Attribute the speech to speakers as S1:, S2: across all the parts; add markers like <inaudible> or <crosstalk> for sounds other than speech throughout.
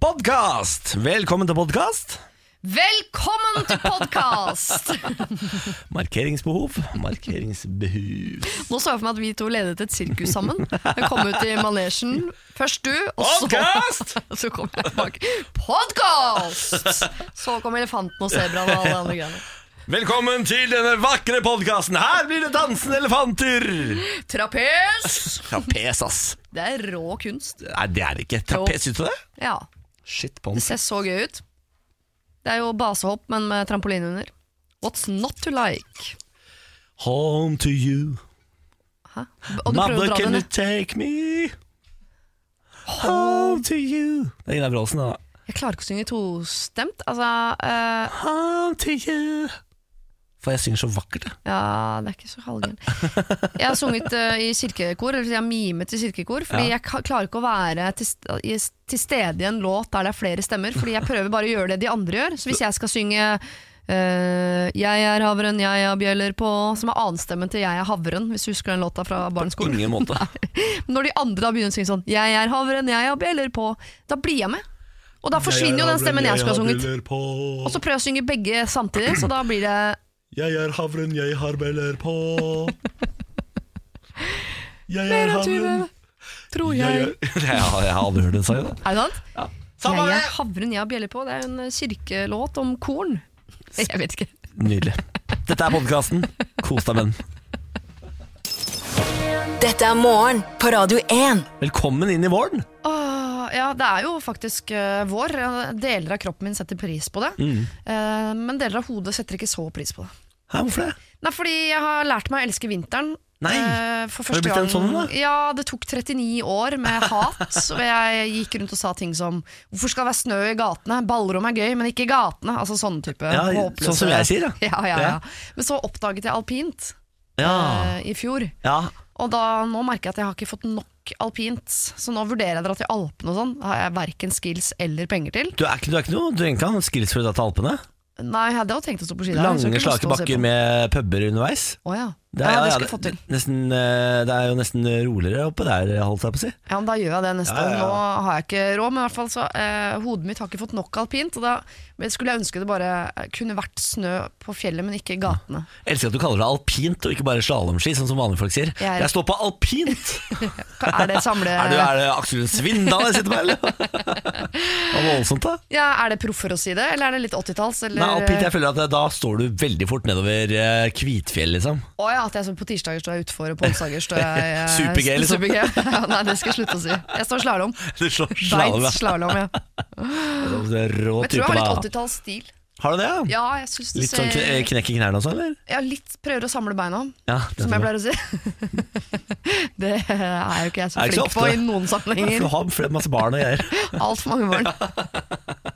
S1: Podkast! Velkommen til podkast.
S2: Velkommen til podkast!
S1: Markeringsbehov. Markeringsbehov.
S2: <laughs> Nå <laughs> så jeg for meg at vi to ledet et sirkus sammen. Jeg kom ut i manesjen. Først du, og så
S1: Podcast!
S2: <laughs> Så kom jeg bak. Podkast! Så kom elefanten og sebraen og alle de andre greiene.
S1: Velkommen til denne vakre podkasten. Her blir det dansende elefanter!
S2: Trapes!
S1: Trapes, ass.
S2: Det er rå kunst.
S1: Nei, det er det ikke. Trapes, syns du det?
S2: Ja,
S1: Shit på
S2: det ser så gøy ut. Det er jo basehopp, men med trampoline under. What's not to like?
S1: Home to you.
S2: Hæ? Og du prøver å
S1: Mother,
S2: dra
S1: can
S2: den
S1: you
S2: ned.
S1: take me home to you? Det er Gunnar Bråsen, da.
S2: Jeg klarer ikke å synge tostemt. Altså eh,
S1: Home to you. For jeg synger så vakkert, jeg.
S2: Ja, det er ikke så halvgærent. Jeg har sunget eh, i kirkekor, eller jeg har mimet i kirkekor, fordi jeg ka- klarer ikke å være til, st- i- til stede i en låt der det er flere stemmer, fordi jeg prøver bare å gjøre det de andre gjør. Så hvis jeg skal synge eh, 'Jeg er havren, jeg er bjeller på', som er annenstemmen til 'Jeg er havren', hvis du husker den låta fra barneskolen.
S1: Ingen måte.
S2: Når de andre da begynner å synge sånn 'Jeg er havren, jeg er bjeller på', da blir jeg med. Og da forsvinner jo den stemmen jeg skulle ha sunget. Og så prøver jeg å synge begge samtidig, så da blir det
S1: Jeg er havren, jeg har beller på. Jeg
S2: Mer enn 20, tror jeg.
S1: <laughs> Jeg har jeg har aldri hørt det si det.
S2: Er det sant?
S1: Samme
S2: jeg
S1: det!
S2: er havren jeg har bjeller på. Det er jo en eh, kirkelåt om korn. <laughs> Jeg vet ikke.
S1: Nydelig. Dette er podkasten. Kos deg med den.
S3: Dette er morgen på Radio 1.
S1: Velkommen inn i våren.
S2: Åh, ja, det er jo faktisk eh, vår. Deler av kroppen min setter pris på det.
S1: Mm.
S2: Eh, men deler av hodet setter ikke så pris på det.
S1: Hæ, hvorfor det?
S2: Nei, fordi jeg har lært meg å elske vinteren.
S1: Nei.
S2: Eh, for
S1: Har du
S2: første
S1: blitt en
S2: gang-
S1: sånn, da?
S2: Ja, det tok 39 år
S1: <laughs>
S2: med hat. og jeg gikk rundt og sa ting som Hvorfor skal det være snø i gatene? Ballrom er gøy, men ikke i gatene. Altså sånne type
S1: Ja,
S2: håpløse
S1: sånn som jeg sier, ja.
S2: <laughs> Ja, ja,
S1: Ja.
S2: ja. Men så oppdaget jeg alpint
S1: Ja.
S2: eh, i fjor.
S1: ja.
S2: Og da, nå merker jeg at jeg har ikke fått nok alpint, så nå vurderer jeg dra til Alpene og sånn. Har jeg verken skills eller penger til.
S1: Du er ikke, du er ikke noe Du er ikke noe skills for å dra til Alpene?
S2: Nei, jeg hadde jo tenkt å stå på ski der. men så har
S1: Lange,
S2: jeg ikke lyst
S1: slake
S2: til å se
S1: bakker
S2: på.
S1: med puber underveis?
S2: Å ja.
S1: er- ja,
S2: ja, det
S1: ja,
S2: skulle jeg fått til.
S1: Nesten, eh, det er jo nesten roligere oppe der, holdt jeg på å si.
S2: Ja, men da gjør jeg det neste.
S1: Ja, ja, ja.
S2: Nå har jeg ikke råd, men i hvert fall så eh, hodet mitt har ikke fått nok alpint. Og da men skulle jeg ønske det bare eh, kunne vært snø på fjellet, men ikke i gatene.
S1: Jeg elsker at du kaller det alpint og ikke bare slalåmski, sånn som vanlige folk sier.
S2: Jeg er-
S1: Jeg står på alpint!
S2: Er det
S1: <laughs>
S2: samle...
S1: Er, du, er det Aksel Lund Svindal jeg sitter med, eller? <laughs> Hva voldsomt, da.
S2: Ja, er det proffer å si det, eller er det litt 80-talls? eller-
S1: Nei, alpint, jeg føler at det- da står du veldig fort nedover eh, Kvitfjell, liksom.
S2: Å ja, at jeg så på tirsdager står jeg utfor, og på onsdager står jeg eh,
S1: <laughs> Super-G, liksom.
S2: super-G. <laughs> ja, nei, det skal jeg slutte å si. Jeg står slalåm.
S1: Du <laughs> slår slalåm,
S2: Beit
S1: ja.
S2: slalåm, ja. Men
S1: Det er Rå
S2: Jeg tror jeg
S1: type,
S2: har litt
S1: da.
S2: 80-tallsstil.
S1: Har du det, ja?
S2: Ja, jeg synes det
S1: Litt sånn kn- eh,
S2: ser
S1: knekk i knærne også, eller?
S2: Ja, litt prøver å samle beina,
S1: Ja, sånn. det
S2: som jeg
S1: tror
S2: pleier å si. <laughs> Det er jo ikke jeg så
S1: Er ikke så
S2: flink på
S1: ofte.
S2: i noen
S1: Ja, for <laughs>
S2: sammenhenger.
S1: Du har flere- masse barn og greier.
S2: Altfor mange barn.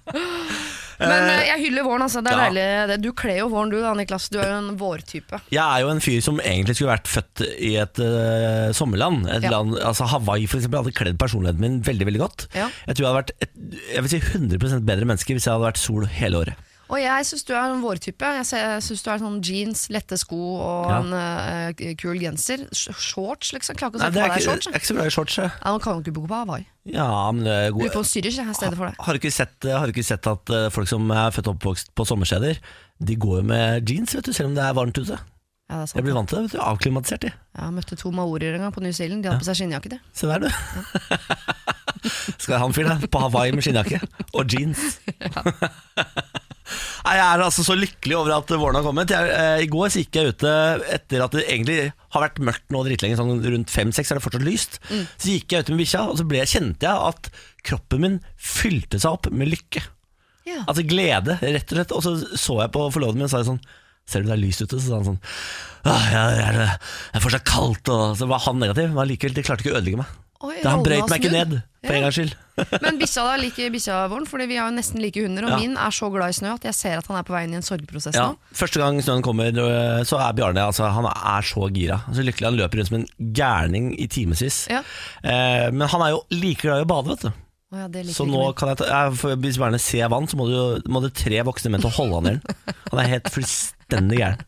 S2: Men eh, jeg hyller våren, altså. Det er
S1: Ja.
S2: deilig. det. Du kler jo våren du da, Niklas. Du er jo en vårtype.
S1: Jeg er jo en fyr som egentlig skulle vært født i et eh, sommerland. Et
S2: Ja.
S1: land, altså Hawaii for eksempel hadde kledd personligheten min veldig veldig godt.
S2: Ja.
S1: Jeg tror jeg hadde vært et, jeg vil si 100 bedre menneske hvis jeg hadde vært sol hele året.
S2: Og jeg syns du er en vårtype. Jeg ser- Jeg syns du er sånn jeans, lette sko og
S1: Ja.
S2: en eh, kul genser. Sh- Shorts, liksom. Klarer ikke å
S1: Nei,
S2: se
S1: det
S2: for
S1: er
S2: meg deg
S1: ikke,
S2: shorts.
S1: jeg
S2: jeg.
S1: er ikke så glad i shorts. jeg.
S2: Ja, nå kan du ikke bo på Hawaii.
S1: Ja, men det er
S2: Du
S1: god,
S2: er på en syrisk jeg, i stedet for det.
S1: Har du ikke sett, har du ikke sett at eh, folk som er født og oppvokst på sommersteder, de går jo med jeans, vet du, selv om det er varmt ute.
S2: Ja, det er
S1: Jeg
S2: sant.
S1: blir vant til det, vet du. Avklimatisert, de.
S2: Jeg møtte to maorier en gang på New Zealand. De hadde på seg skinnjakke. de.
S1: Se der, du. <laughs> Skal han fyren der, på Hawaii med skinnjakke og jeans. <laughs> Nei, Jeg er altså så lykkelig over at våren har kommet. Jeg, eh, I går så gikk jeg ute etter at det egentlig har vært mørkt nå dritlenge, sånn rundt fem-seks er det fortsatt lyst. Så gikk jeg ute med bikkja, og så ble, kjente jeg at kroppen min fylte seg opp med lykke.
S2: Ja.
S1: Altså glede, rett og slett. Og så så jeg på forloveden min og sa sånn Ser du det er lyst ute? Så sa han sånn Åh, ja, det er, det er fortsatt kaldt. Og så var han negativ, men allikevel, det klarte ikke å ødelegge meg.
S2: Oi,
S1: Det, han
S2: rollen
S1: brøyt
S2: har
S1: meg ikke
S2: snudd.
S1: ned, for en gangs skyld.
S2: <laughs> Men bikkja da liker bikkja vår, Fordi vi har jo nesten like hunder. Og
S1: Ja.
S2: min er så glad i snø at jeg ser at han er på vei inn i en sorgprosess
S1: Ja,
S2: nå.
S1: første gang snøen kommer, øh, så er Bjarne altså, Han er så gira. Så lykkelig han løper rundt som en gærning i timevis.
S2: Ja.
S1: Eh, men han er jo like glad i å bade, vet du.
S2: Å ja, det liker
S1: Så
S2: ikke
S1: nå
S2: min.
S1: kan jeg ta, jeg, for Hvis Bjarne ser vann, så må det, jo, må det tre voksne menn til å holde han i den. Han er helt fullstendig gæren.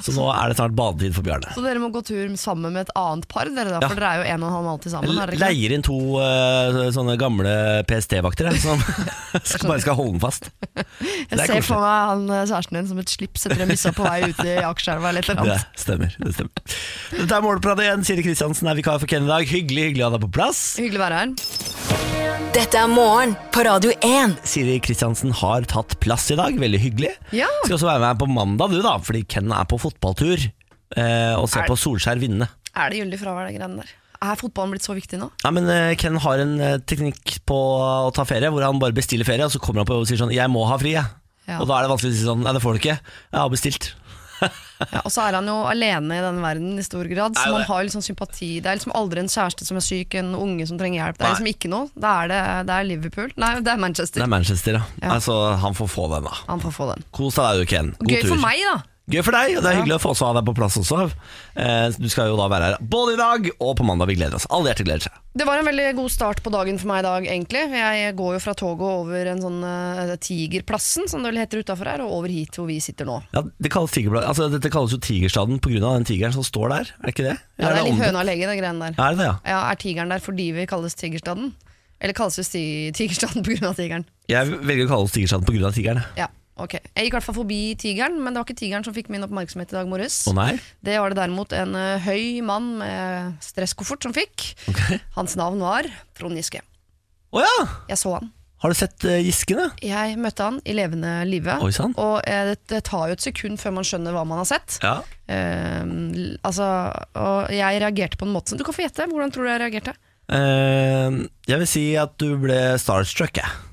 S1: Så nå er det snart badetid for Bjarne.
S2: Så dere må gå tur sammen med et annet par, dere da, for dere er jo en og en halv måned til sammen. er dere ikke?
S1: Leier inn to eh, sånne gamle PST-vakter jeg, som <laughs> skal, bare skal holde den fast. det er
S2: Jeg ser
S1: koselig.
S2: for meg han eh, kjæresten din som et slips etter en missa på vei ut i Akerselva eller et eller
S1: Det
S2: annet.
S1: stemmer. det stemmer Dette er Morgenpratet igjen. Siri Kristiansen er vikar for Ken i dag. Hyggelig hyggelig å ha deg på plass.
S2: Hyggelig å være her.
S3: Dette er morgen på Radio 1.
S1: Siri Kristiansen har tatt plass i dag. Veldig hyggelig.
S2: Ja.
S1: Skal også være med her på mandag, du da, fordi Ken er på fotballtur eh, og ser
S2: Er-
S1: på Solskjær vinne.
S2: Er det gyldig fravær, det greiene der? Er fotballen blitt så viktig nå?
S1: Nei, men eh, Ken har en eh, teknikk på å ta ferie, hvor han bare bestiller ferie, og så kommer han på og sier sånn 'jeg må ha fri', jeg.
S2: Ja.
S1: Og da er det vanskelig å si sånn 'nei, det får du ikke', jeg har bestilt.
S2: Ja, og så er han jo alene i den verden i stor grad,
S1: Er
S2: så
S1: det?
S2: man har jo litt sånn sympati. Det er liksom aldri en kjæreste som er syk, en unge som trenger hjelp. Det
S1: Nei.
S2: er liksom ikke noe. Det er, det, det er Liverpool. Nei, det er
S1: Det
S2: Manchester.
S1: er Manchester, ja.
S2: Ja.
S1: Altså, han får få den, da.
S2: Han får få den.
S1: Kos deg, du, Ken. God
S2: Gøy
S1: tur.
S2: for meg, da.
S1: Gøy for deg, og det er hyggelig å få også ha deg på plass også. Eh, Du skal jo da være her både i dag og på mandag. Vi gleder oss. Alle hjerter gleder seg.
S2: Det var en veldig god start på dagen for meg i dag, egentlig. Jeg går jo fra toget over en sånn eh, Tigerplassen, som det vel heter utafor her, og over hit hvor vi sitter nå.
S1: Ja, det kalles tigerblad. Altså, dette kalles jo Tigerstaden pga. den tigeren som står der, er det ikke det?
S2: Ja, det er litt
S1: omvendt?
S2: høna og legge, den greien der.
S1: Er det det, ja?
S2: Ja, Er tigeren der fordi vi kalles Tigerstaden? Eller kalles vi sti- Tigerstaden pga. tigeren?
S1: Jeg velger å kalle oss Tigerstaden pga. tigeren. jeg.
S2: Ja, ok. Jeg gikk i hvert fall forbi tigeren, men det var ikke tigeren som fikk min oppmerksomhet i dag morges.
S1: Å nei?
S2: Det var det derimot en eh, høy mann med stresskoffert som fikk.
S1: Ok.
S2: Hans navn var Trond Giske.
S1: Å ja!
S2: Jeg så han.
S1: Har du sett eh, Giskene?
S2: Jeg møtte han i levende live.
S1: Oi sann.
S2: Og eh, det, det tar jo et sekund før man skjønner hva man har sett.
S1: Ja.
S2: Eh, l- altså, og jeg reagerte på en måte som Du kan få gjette. Hvordan tror du jeg reagerte?
S1: Eh, jeg vil si at du ble starstruck, jeg.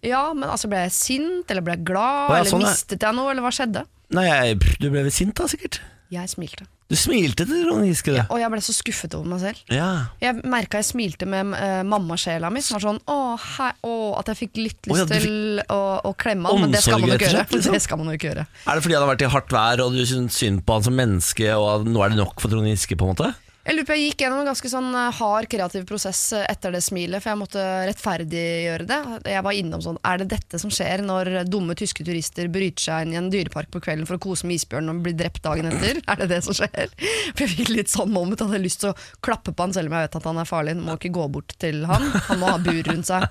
S2: Ja, men altså Ble jeg sint, eller ble jeg glad,
S1: Å, ja,
S2: eller
S1: sånn, ja.
S2: mistet jeg noe, eller hva skjedde?
S1: Nei, jeg, pff, du ble vel sint da, sikkert?
S2: Jeg smilte.
S1: Du smilte til Trond Giske, du.
S2: Og jeg ble så skuffet over meg selv.
S1: Ja.
S2: Jeg merka jeg smilte med eh, mammasjela mi, som var sånn å, hei, å, At jeg fikk litt lyst
S1: Å, ja, du
S2: til å, å klemme han, men det skal man jo
S1: Omsorg,
S2: ikke gjøre.
S1: rett og slett, liksom.
S2: Det skal man jo ikke gjøre.
S1: Er det fordi han har vært i hardt vær, og du syns synd på han som menneske, og at nå er det nok for Trond Giske, på en måte?
S2: Jeg lurer på, jeg gikk gjennom en ganske sånn eh, hard kreativ prosess eh, etter det smilet, for jeg måtte rettferdiggjøre det. Jeg var innom sånn, er det dette som skjer når dumme tyske turister bryter seg inn i en dyrepark på kvelden for å kose med isbjørn og blir drept dagen etter? Er det det som skjer? <laughs> For jeg fikk litt sånn moment, hadde lyst til å klappe på han, selv om jeg vet at han er farlig. Må ikke gå bort til han, han må ha bur rundt seg.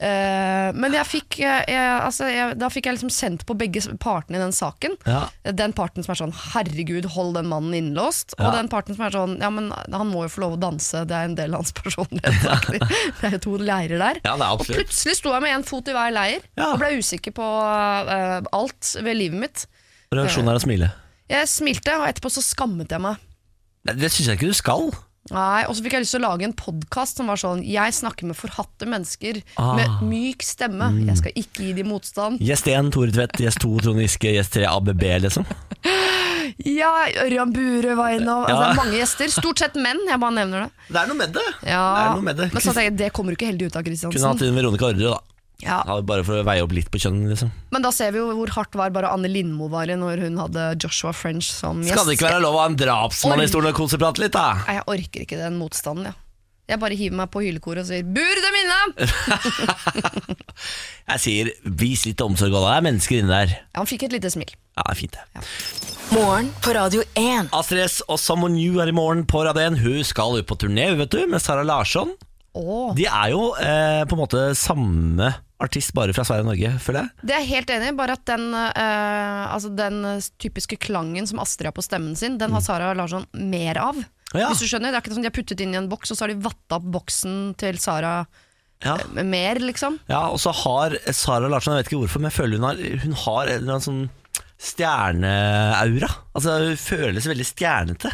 S2: Eh, men jeg fikk, eh, jeg, altså, jeg, da fikk jeg liksom sendt på begge partene i den saken.
S1: Ja.
S2: Den parten som er sånn 'herregud, hold den mannen innelåst', og
S1: Ja.
S2: den parten som er sånn 'ja, men han må jo få lov å danse, det er en del av hans
S1: <laughs>
S2: personlighet'. egentlig. Det er jo to leirer der.
S1: Ja, det er
S2: og
S1: absolutt.
S2: plutselig sto jeg med én fot i hver leir
S1: Ja.
S2: og ble usikker på eh, alt ved livet mitt.
S1: Reaksjonen er å smile.
S2: Jeg smilte, og etterpå så skammet jeg meg.
S1: Nei, det syns jeg ikke du skal.
S2: Nei, Og så fikk jeg lyst til å lage en podkast som var sånn 'Jeg snakker med forhatte mennesker
S1: Ah. Mm.
S2: med myk stemme'. Jeg skal ikke gi dem motstand.
S1: Gjest 1 Tore Tvedt, gjest 2 Trond Giske, gjest 3 ABB, liksom.
S2: Ja, Ørjan Bure var innom.
S1: Ja.
S2: Altså, det er mange gjester. Stort sett menn, jeg bare nevner det.
S1: Det er noe med det. det,
S2: Ja,
S1: er noe med det.
S2: Men så tenker jeg, det kommer jo ikke heldig ut av
S1: Kunne hatt
S2: Kristiansen.
S1: inn Veronica Orderud, da.
S2: Ja.
S1: Ja, Bare for å veie opp litt på kjønn, liksom.
S2: Men da ser vi jo hvor hardt var bare Anne Lindmo var i når hun hadde Joshua French som gjest.
S1: Skal det ikke være lov å ha en drapsmann
S2: Oi.
S1: i stolen og koseprat litt, da?
S2: Nei, jeg orker ikke den motstanden, ja. Jeg bare hiver meg på hylekoret og sier 'bur dem inne'!
S1: <laughs> Jeg sier vis litt omsorg, og det er mennesker inne der.
S2: Ja, han fikk et lite smil.
S1: Ja, det er fint, det.
S3: Morgen på Radio 1.
S1: Astrid S og Someone New er i morgen på Radén. Hun skal ut på turné, vet du, med Sara Larsson.
S2: Åh.
S1: De er jo eh, på en måte samme artist, bare fra Sverige og Norge, føler jeg.
S2: Det er jeg helt enig i, bare at den, eh, altså den eh, typiske klangen som Astrid har på stemmen sin, den har Sara Larsson mer av.
S1: Mm. Ja.
S2: Hvis du skjønner, Det er ikke sånn de har puttet inn i en boks, og så har de vatta opp boksen til Sara
S1: Ja.
S2: eh, mer, liksom.
S1: Ja, og så har Sara Larsson, jeg vet ikke hvorfor, men jeg føler hun har, hun har en eller annen sånn stjerneaura. Altså, hun føles veldig stjernete.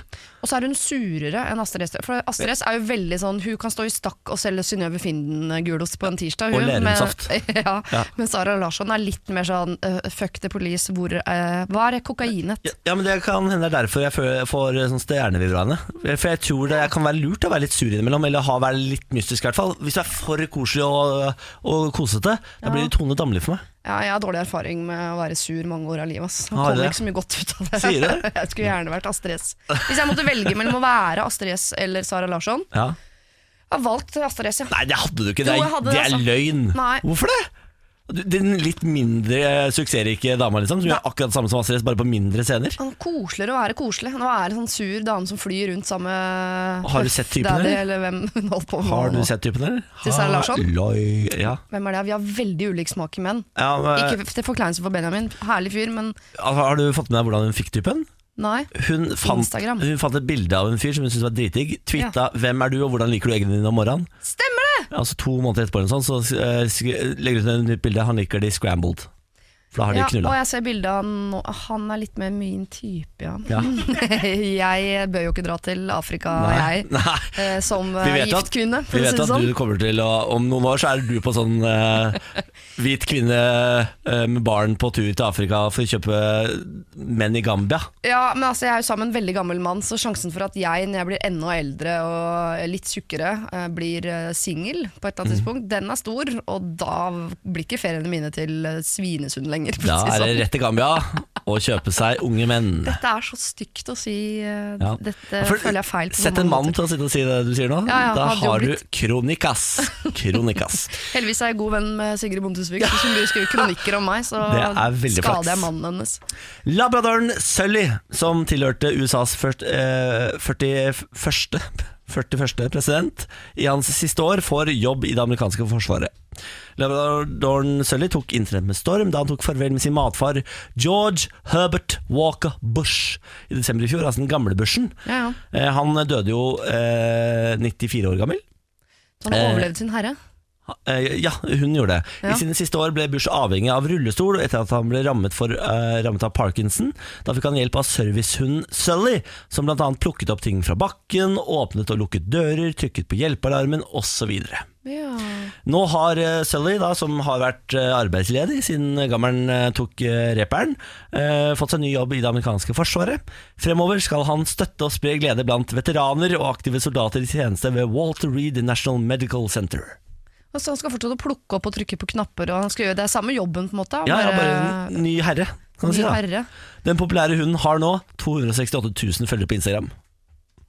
S2: Og så er hun surere enn Astrid S. For Astrid S er jo veldig sånn Hun kan stå i stakk og selge Synnøve Finden-gulost på en tirsdag.
S1: Og
S2: Hun,
S1: lerumsaft.
S2: men- <laughs> Ja,
S1: Ja.
S2: Men Sara Larsson er litt mer sånn eh, fuck the police, hvor eh, Hva er kokainet?
S1: Ja, ja, men det kan hende det er derfor jeg fø- får sånn stjernevibber av henne. For jeg tror det kan være lurt å være litt sur innimellom, eller ha være litt mystisk i hvert fall. Hvis du er for koselig og, og kosete, da blir du Tone Damli for meg.
S2: Ja, jeg har dårlig erfaring med å være sur mange år av livet. Ass. Jeg
S1: Har du
S2: kommer
S1: det?
S2: ikke så mye godt ut av det.
S1: Sier du det?
S2: <laughs> Jeg skulle gjerne vært Astrid S. Hvis jeg måtte velge mellom å være Astrid S eller Sara Larsson,
S1: Ja.
S2: jeg har valgt Astrid S, ja.
S1: Nei, det hadde du ikke.
S2: Jo,
S1: Det
S2: jeg
S1: er,
S2: hadde
S1: det
S2: det,
S1: er
S2: altså.
S1: løgn.
S2: Nei.
S1: Hvorfor det? Du- Den litt mindre eh, suksessrike dama liksom, som gjør akkurat det samme som Astrid S, bare på mindre scener.
S2: Han koseligere å være koselig. Nå er det sånn sur dame som flyr rundt sammen med
S1: Har du sett typen,
S2: Daddy,
S1: eller?
S2: eller hvem hun holdt på med.
S1: Har du
S2: nå.
S1: sett typen, eller?
S2: Til Sarah Larsson?
S1: Halloi. Ja.
S2: Hvem er det? Vi har veldig ulik smak i menn.
S1: Ja, men,
S2: Ikke til forkleinelse for Benjamin, herlig fyr, men
S1: altså, har du fått med deg hvordan hun fikk typen?
S2: nei.
S1: Hun fant,
S2: Instagram.
S1: hun fant et bilde av en fyr som hun syntes var dritdigg. Twitta 'Hvem er du, og hvordan liker du eggene dine om morgenen?'
S2: Stemmer det!
S1: Altså To måneder etterpå eller noe sånt, så eh, sk- legger hun ut et nytt bilde. Han liker de scrambled. For da har de
S2: Ja, og
S1: knulla.
S2: jeg ser bildet av han nå. Han er litt mer min type, ja.
S1: Ja.
S2: <laughs> jeg bør jo ikke dra til Afrika,
S1: Nei,
S2: jeg.
S1: <laughs> nei.
S2: eh, Som
S1: Vi
S2: eh,
S1: vet
S2: gift
S1: at,
S2: kvinne,
S1: vi
S2: for å
S1: vet
S2: si det
S1: at
S2: sånn.
S1: du kommer til å Om noen år så er du på sånn eh, hvit kvinne eh, med barn på tur til Afrika for å kjøpe menn i Gambia.
S2: Ja, men altså, jeg er jo sammen med en veldig gammel mann, så sjansen for at jeg, når jeg blir enda eldre og litt tjukkere, eh, blir eh, singel på et eller
S1: Mm.
S2: annet tidspunkt, den er stor, og da blir ikke feriene mine til eh, Svinesund lenger. For
S1: Da
S2: å si
S1: er
S2: sånn.
S1: det rett til Gambia å kjøpe seg unge menn.
S2: Dette er så stygt å si. eh,
S1: Ja.
S2: Dette
S1: For-
S2: føler jeg feil. på
S1: Sett
S2: mange
S1: en mann
S2: måter.
S1: til å sitte og si det du sier nå.
S2: Ja, ja,
S1: da
S2: hadde jo
S1: har du
S2: blitt.
S1: kronikas. Kronikas. <laughs>
S2: Heldigvis er jeg god venn med Sigrid Bonde Tusvik, så hun blir skrive kronikker om meg, så
S1: <laughs> Det er veldig flaks.
S2: skader jeg mannen hennes.
S1: Labradoren Sully, som tilhørte USAs først, eh, 41. 41. president i hans siste år får jobb i det amerikanske forsvaret. Labradoren Sully tok internett med storm da han tok farvel med sin matfar George Herbert Walker Bush i desember i fjor, altså den gamle Bushen.
S2: Ja, ja.
S1: Eh, han døde jo eh, 94 år gammel.
S2: Så han
S1: Eh,
S2: har overlevd sin herre.
S1: Eh, Ja, hun gjorde det.
S2: Ja.
S1: I sine siste år ble Bush avhengig av rullestol etter at han ble rammet, for, eh, rammet av parkinson. Da fikk han hjelp av servicehunden Sully, som bl.a. plukket opp ting fra bakken, åpnet og lukket dører, trykket på hjelpealarmen osv.
S2: Ja.
S1: Nå har eh, Sully, da, som har vært eh, arbeidsledig siden gammelen eh, tok eh, reperen, eh, fått seg ny jobb i det amerikanske forsvaret. Fremover skal han støtte og spre glede blant veteraner og aktive soldater i tjeneste ved Walter Reed National Medical Center.
S2: Og så Altså, han skal fortsette å plukke opp og trykke på knapper, og han skal gjøre det er samme jobben, på en måte. han
S1: Ja, ja, bare en ny herre, kan du si.
S2: Eh, Ny
S1: da
S2: herre.
S1: Den populære hunden har nå 268 000 følgere på Instagram,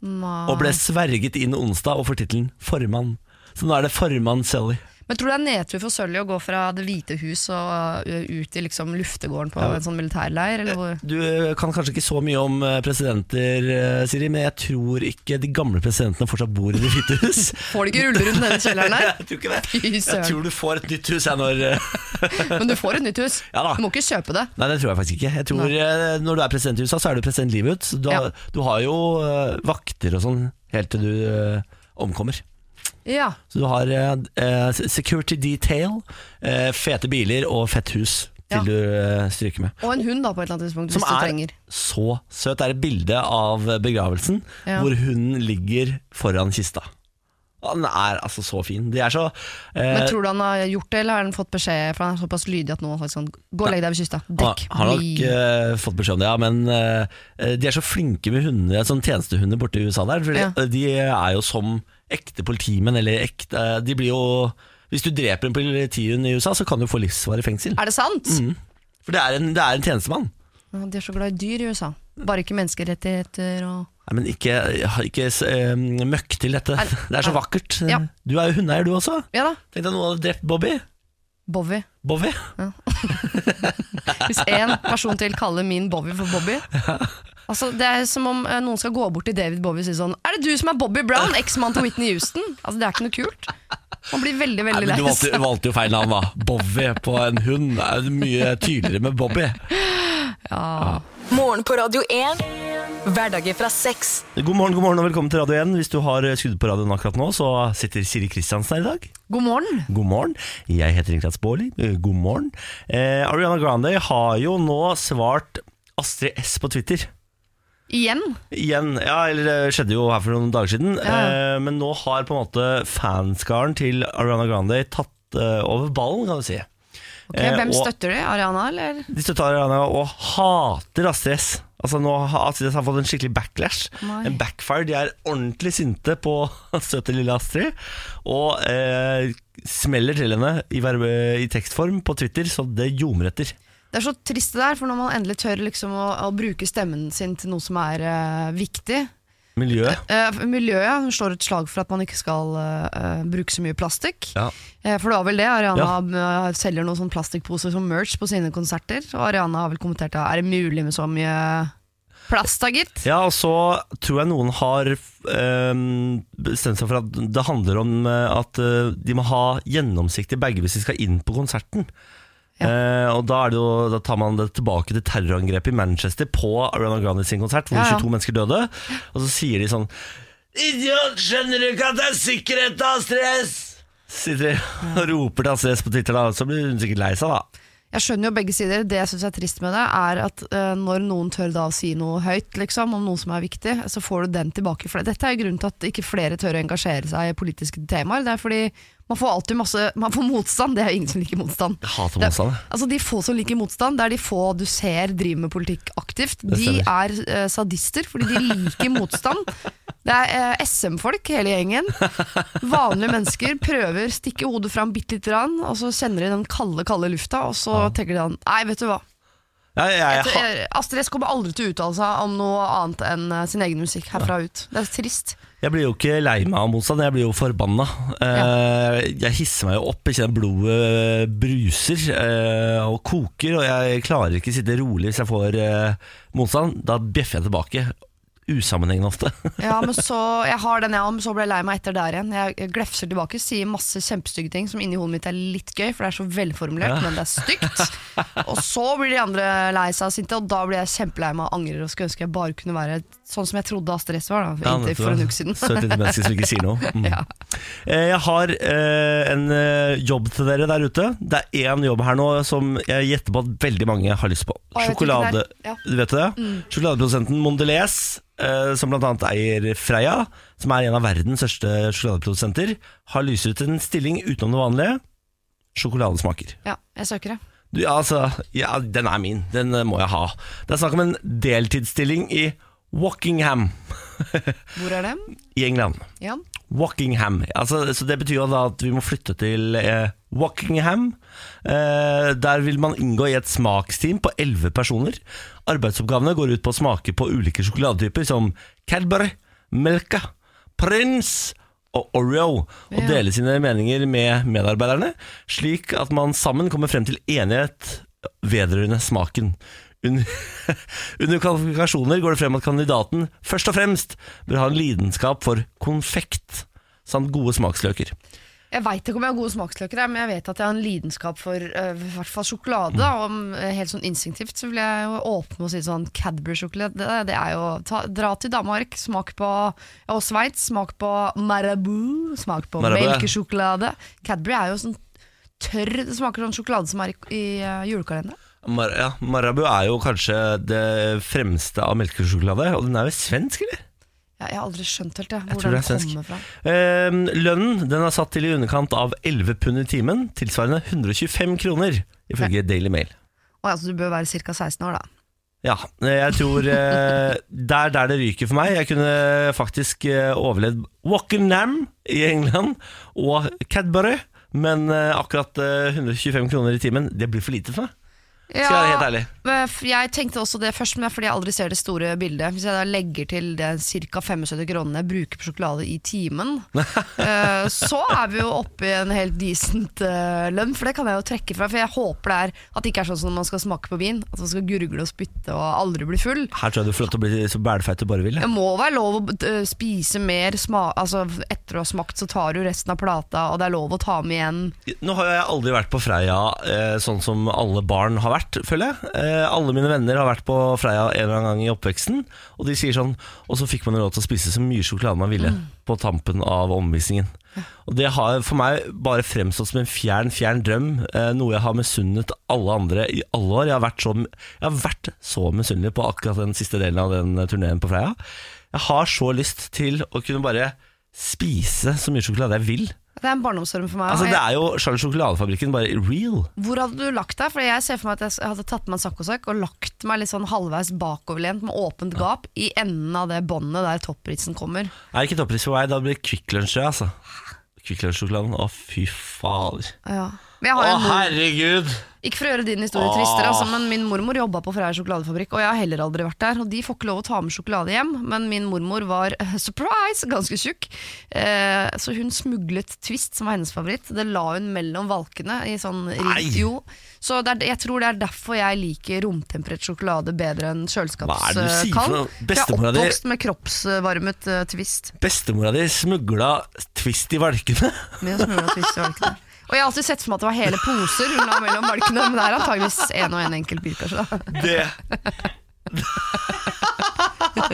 S2: Nei.
S1: og ble sverget inn onsdag og får tittelen 'Formann'. Så nå er det formann Sully.
S2: Men tror du det er nedtur for Sølje å gå fra Det hvite hus og ø, ut i liksom luftegården på en sånn militærleir? Eller hvor?
S1: Du eh, kan kanskje ikke så mye om eh, presidenter, eh, Siri, men jeg tror ikke de gamle presidentene fortsatt bor i Det hvite
S2: <laughs>
S1: hus.
S2: Får du ikke rulle rundt nede i
S1: <laughs>
S2: kjelleren der?
S1: Jeg tror ikke det.
S2: Fy
S1: Jeg
S2: søren.
S1: tror du får et nytt hus jeg når eh,
S2: Men du får et nytt hus.
S1: Ja da.
S2: Du må ikke kjøpe det.
S1: Nei, det tror jeg faktisk ikke. Jeg tror
S2: Nei.
S1: eh, Når du er president i USA, så er du president livet ut. Så Du, har-
S2: Ja.
S1: du har jo eh, vakter og sånn helt til du eh, omkommer.
S2: Ja.
S1: Så du har eh, eh, security detail, eh, fete biler og fett hus til
S2: Ja.
S1: du eh, stryker med.
S2: Og en hund da på et eller annet tidspunkt,
S1: Som
S2: hvis du
S1: er
S2: trenger.
S1: så søt. Det er et bilde av begravelsen
S2: Ja.
S1: hvor hunden ligger foran kista. Han er altså så fin. De er så eh,
S2: Men tror du han har gjort det, eller har han fått beskjed? For han er såpass lydig at noen har sagt sånn Gå og legg deg ved kysta. Dekk.
S1: Han har nok
S2: bli-
S1: eh, fått beskjed om det, ja, men eh, de er så flinke med hunder, sånn tjenestehunder borte i USA der. For
S2: Ja.
S1: de er jo som ekte politimenn, eller ekte De blir jo Hvis du dreper en politihund i USA, så kan du få livsvarig fengsel.
S2: Er det sant?
S1: Mm. For det er en, det er en tjenestemann.
S2: Ja, De er så glad i dyr i USA. Bare ikke menneskerettigheter og
S1: Nei, men ikke, ikke eh, møkk til dette.
S2: Er-
S1: <laughs> det er så
S2: er-
S1: vakkert. Eh,
S2: Ja.
S1: Du er jo hundeeier, du også.
S2: Ja da,
S1: Tenk deg noen hadde drept Bobby.
S2: Bowie.
S1: Bobby.
S2: Hvis én person til kaller min Bobby for
S1: <laughs>
S2: Bobby Altså, Det er som om eh, noen skal gå bort til David Bobby og si sånn Er det du som er Bobby Brown, eksmannen til Whitney Houston? Altså, Det er ikke noe kult. Man blir veldig,
S1: Nei,
S2: veldig
S1: men
S2: lei
S1: du valgte,
S2: seg.
S1: valgte jo feil navn, da. Bobby på en hund. Det er mye tydeligere med Bobby.
S3: Morgen på Radio 1. Hverdager fra seks.
S1: God morgen god morgen og velkommen til Radio 1. Hvis du har skrudd på radioen akkurat nå, så sitter Siri Kristiansen her i dag.
S2: God morgen.
S1: God morgen. Jeg heter Niklas Baarli. Eh, God morgen. Eh, Ariana Grande har jo nå svart Astrid S på Twitter.
S2: Igjen.
S1: Igjen, ja, eller det skjedde jo her for noen dager siden
S2: Ja.
S1: eh, Men nå har på en måte fanskaren til Ariana Grande tatt eh, over ballen, kan du si
S2: Ok,
S1: Eh,
S2: hvem
S1: og-
S2: støtter de? Ariana, eller?
S1: De støtter Ariana og hater Astrid S Altså nå har Astrid S har fått en skikkelig backlash
S2: Nei.
S1: En backfire, de er ordentlig sinte på <laughs> søte lille Astrid Og eh, smeller til henne i, verbe, i tekstform på Twitter Så det ljomer etter
S2: Det er så trist det der, for når man endelig tør liksom å, å bruke stemmen sin til noe som er eh, viktig,
S1: Miljø.
S2: Eh, miljøet slår et slag for at man ikke skal eh, eh, bruke så mye plastikk.
S1: Ja.
S2: Eh, for det var vel det. Ariana eh, selger noen sånne plastikkposer som merch på sine konserter. Og Ariana har vel kommentert at er det mulig med så mye plast, da, gitt?
S1: Ja, og så tror jeg noen har øhm, bestemt seg for at det handler om øh, at øh, de må ha gjennomsiktige bager hvis de skal inn på konserten. Eh, og da, er det jo, da tar man det tilbake til terrorangrepet i Manchester på Ariana Grande sin konsert, hvor
S2: Ja, ja.
S1: 22 mennesker døde. Og så sier de sånn Idiot, skjønner du ikke at det er sikkerhet av stress? Sitter de og roper til Astrid S på Twitter, da. Så blir hun sikkert lei seg, da.
S2: Jeg skjønner jo begge sider. Det jeg syns er trist med det, er at eh, når noen tør da å si noe høyt liksom, om noe som er viktig, så får du den tilbake. For dette er jo grunnen til at ikke flere tør å engasjere seg i politiske temaer. Det er fordi man får alltid masse Man får motstand. Det er jo ingen som liker motstand.
S1: Jeg hater
S2: Det-
S1: motstand. jeg.
S2: Altså De få som liker motstand, det er de få du ser driver med politikk aktivt. De er eh, sadister fordi de liker motstand. Det er eh, SM-folk, hele gjengen. Vanlige mennesker prøver, stikker hodet fram bitte lite grann, og så kjenner de den kalde, kalde lufta, og så tenker de sånn Nei, vet du hva.
S1: Ja, jeg, jeg,
S2: Så,
S1: ha-
S2: eh, Astrid S kommer aldri til å uttale seg om noe annet enn eh, sin egen musikk herfra ut. Det er trist.
S1: Jeg blir jo ikke lei meg av motstand, jeg blir jo forbanna. Eh, Jeg hisser meg jo opp, jeg kjenner blodet bruser eh, og koker, og jeg klarer ikke sitte rolig hvis jeg får eh, motstand. Da bjeffer jeg tilbake. Usammenhengende ofte. <laughs>
S2: Ja, men så, Jeg har den jeg har, men så ble jeg lei meg etter der igjen. Jeg jeg glefser tilbake, sier masse kjempestygge ting som inni hodet mitt er litt gøy, for det er så velformulert, men det er stygt. Og så blir de andre lei seg og sinte, og da blir jeg kjempelei meg og angrer og skulle ønske jeg bare kunne være sånn som jeg trodde Astrid S var, da,
S1: Ja, vet
S2: inntil
S1: du
S2: for
S1: hva?
S2: en uke siden.
S1: Søt lite menneske som ikke sier noe. Mm.
S2: Ja.
S1: Eh, Jeg har eh, en eh, jobb til dere der ute. Det er én jobb her nå som jeg gjetter på at veldig mange har lyst på.
S2: jeg vet hvilken
S1: <laughs> Sjokolade,
S2: det er. Ja.
S1: du vet det? Sjokoladeprodusenten Mondelez, eh, som bl.a. eier Freia, som er en av verdens største sjokoladeprodusenter, har lyst ut en stilling utenom det vanlige. Sjokoladesmaker.
S2: Ja, jeg søker det.
S1: Du, ja, altså, ja, den er min. Den eh, må jeg ha. Det er snakk om en deltidsstilling i Walkingham
S2: Hvor er det?
S1: i England.
S2: Ja.
S1: Walkingham. Altså, så det betyr jo da at vi må flytte til eh, Walkingham. Eh, der vil man inngå i et smaksteam på elleve personer. Arbeidsoppgavene går ut på å smake på ulike sjokoladetyper som Cadbury, Melka, Prince og Oreo, og
S2: Ja.
S1: dele sine meninger med medarbeiderne, slik at man sammen kommer frem til enighet vedrørende smaken. Under, <laughs> under kvalifikasjoner går det frem at kandidaten først og fremst bør ha en lidenskap for konfekt samt gode smaksløker.
S2: Jeg veit ikke om jeg har gode smaksløker, jeg, men jeg vet at jeg har en lidenskap for eh, i hvert fall sjokolade. da, Og mm, helt sånn instinktivt så vil jeg jo åpne og si sånn Cadbury-sjokolade. Det, det er jo ta, Dra til Danmark, smak på Og Sveits, smak på Marabou, smak på
S1: Marabou, ja.
S2: melkesjokolade. Cadbury er jo sånn tørr Det smaker sånn sjokolade som er i, i eh, julekalenderen.
S1: Mar ja, Marabou er jo kanskje det fremste av melkesjokolade, og den er jo svensk, eller?
S2: Jeg, jeg har aldri skjønt helt det,
S1: Jeg
S2: hvor
S1: tror
S2: den
S1: det er svensk.
S2: kommer fra.
S1: Eh, lønnen den er satt til i underkant av 11 pund i timen, tilsvarende 125 kroner, ifølge Daily Mail.
S2: Å, ja, så du bør være ca. 16 år, da.
S1: Ja, jeg tror eh, det er der det ryker for meg. Jeg kunne faktisk eh, overlevd Wockenham i England og Cadbury, men eh, akkurat eh, 125 kroner i timen, det blir for lite for meg. Skal jeg være helt ærlig.
S2: Men f- Jeg tenkte også det først, men det er fordi jeg aldri ser det store bildet. Hvis jeg da legger til det ca. 75 kronene jeg bruker på sjokolade i
S1: <laughs>
S2: timen, eh, så er vi jo oppe i en helt decent eh, lønn, for det kan jeg jo trekke fra. For jeg håper det er at det ikke er sånn som når man skal smake på vin, at man skal gurgle og spytte og aldri bli full.
S1: Her tror jeg du får lov til å bli så bælfeit du bare vil.
S2: Det må være lov å eh, spise mer sma altså, etter å ha smakt, så tar du resten av plata, og det er lov å ta med igjen.
S1: Nå har jeg aldri vært på Freia eh, sånn som alle barn har vært, føler jeg. Eh, alle mine venner har vært på Freia en eller annen gang i oppveksten, og de sier sånn Og så fikk man råd til å spise så mye sjokolade man ville på tampen av omvisningen. Og det har for meg bare fremstått som en fjern, fjern drøm, eh, noe jeg har misunnet alle andre i alle år. Jeg har vært så, jeg har vært så misunnelig på akkurat den siste delen av den eh, turneen på Freia. Jeg har så lyst til å kunne bare spise så mye sjokolade jeg vil.
S2: Det er en barndomsdrøm for meg.
S1: Altså
S2: og jeg-
S1: Det er jo Charles Sjokoladefabrikken, bare real.
S2: Hvor hadde du lagt deg? For jeg ser for meg at jeg s- hadde tatt meg en saccosekk og lagt meg litt sånn halvveis bakoverlent med åpent gap i enden av det båndet der toppritsen kommer.
S1: Er det ikke toppris for meg, da blir det Kvikk Lunsj, altså. Kvikk Lunsj-sjokoladen, å fy fader.
S2: Ja. Men jeg
S1: Å,
S2: har jo en mor,
S1: herregud!
S2: ikke for å gjøre din historie
S1: Åh.
S2: tristere,
S1: Ah.
S2: altså, men min mormor jobba på Freia sjokoladefabrikk, og jeg har heller aldri vært der. Og de får ikke lov å ta med sjokolade hjem, men min mormor var eh, surprise, ganske tjukk. Eh, så hun smuglet Twist, som var hennes favoritt. Det la hun mellom valkene. I sånn ring-
S1: Nei.
S2: jo. Så det er, jeg tror det er derfor jeg liker romtemperert sjokolade bedre enn kjøleskapskald.
S1: Hva er det du sier for noe?
S2: jeg er
S1: Bestemora di-
S2: oppvokst med kroppsvarmet eh, Twist.
S1: Bestemora di smugla Twist i valkene.
S2: Med å smøre og twiste valkene. Og jeg har alltid sett for meg at det var hele poser hun la mellom valkene, men det er antageligvis en og en enkelt bit, kanskje. da. <laughs>
S1: Det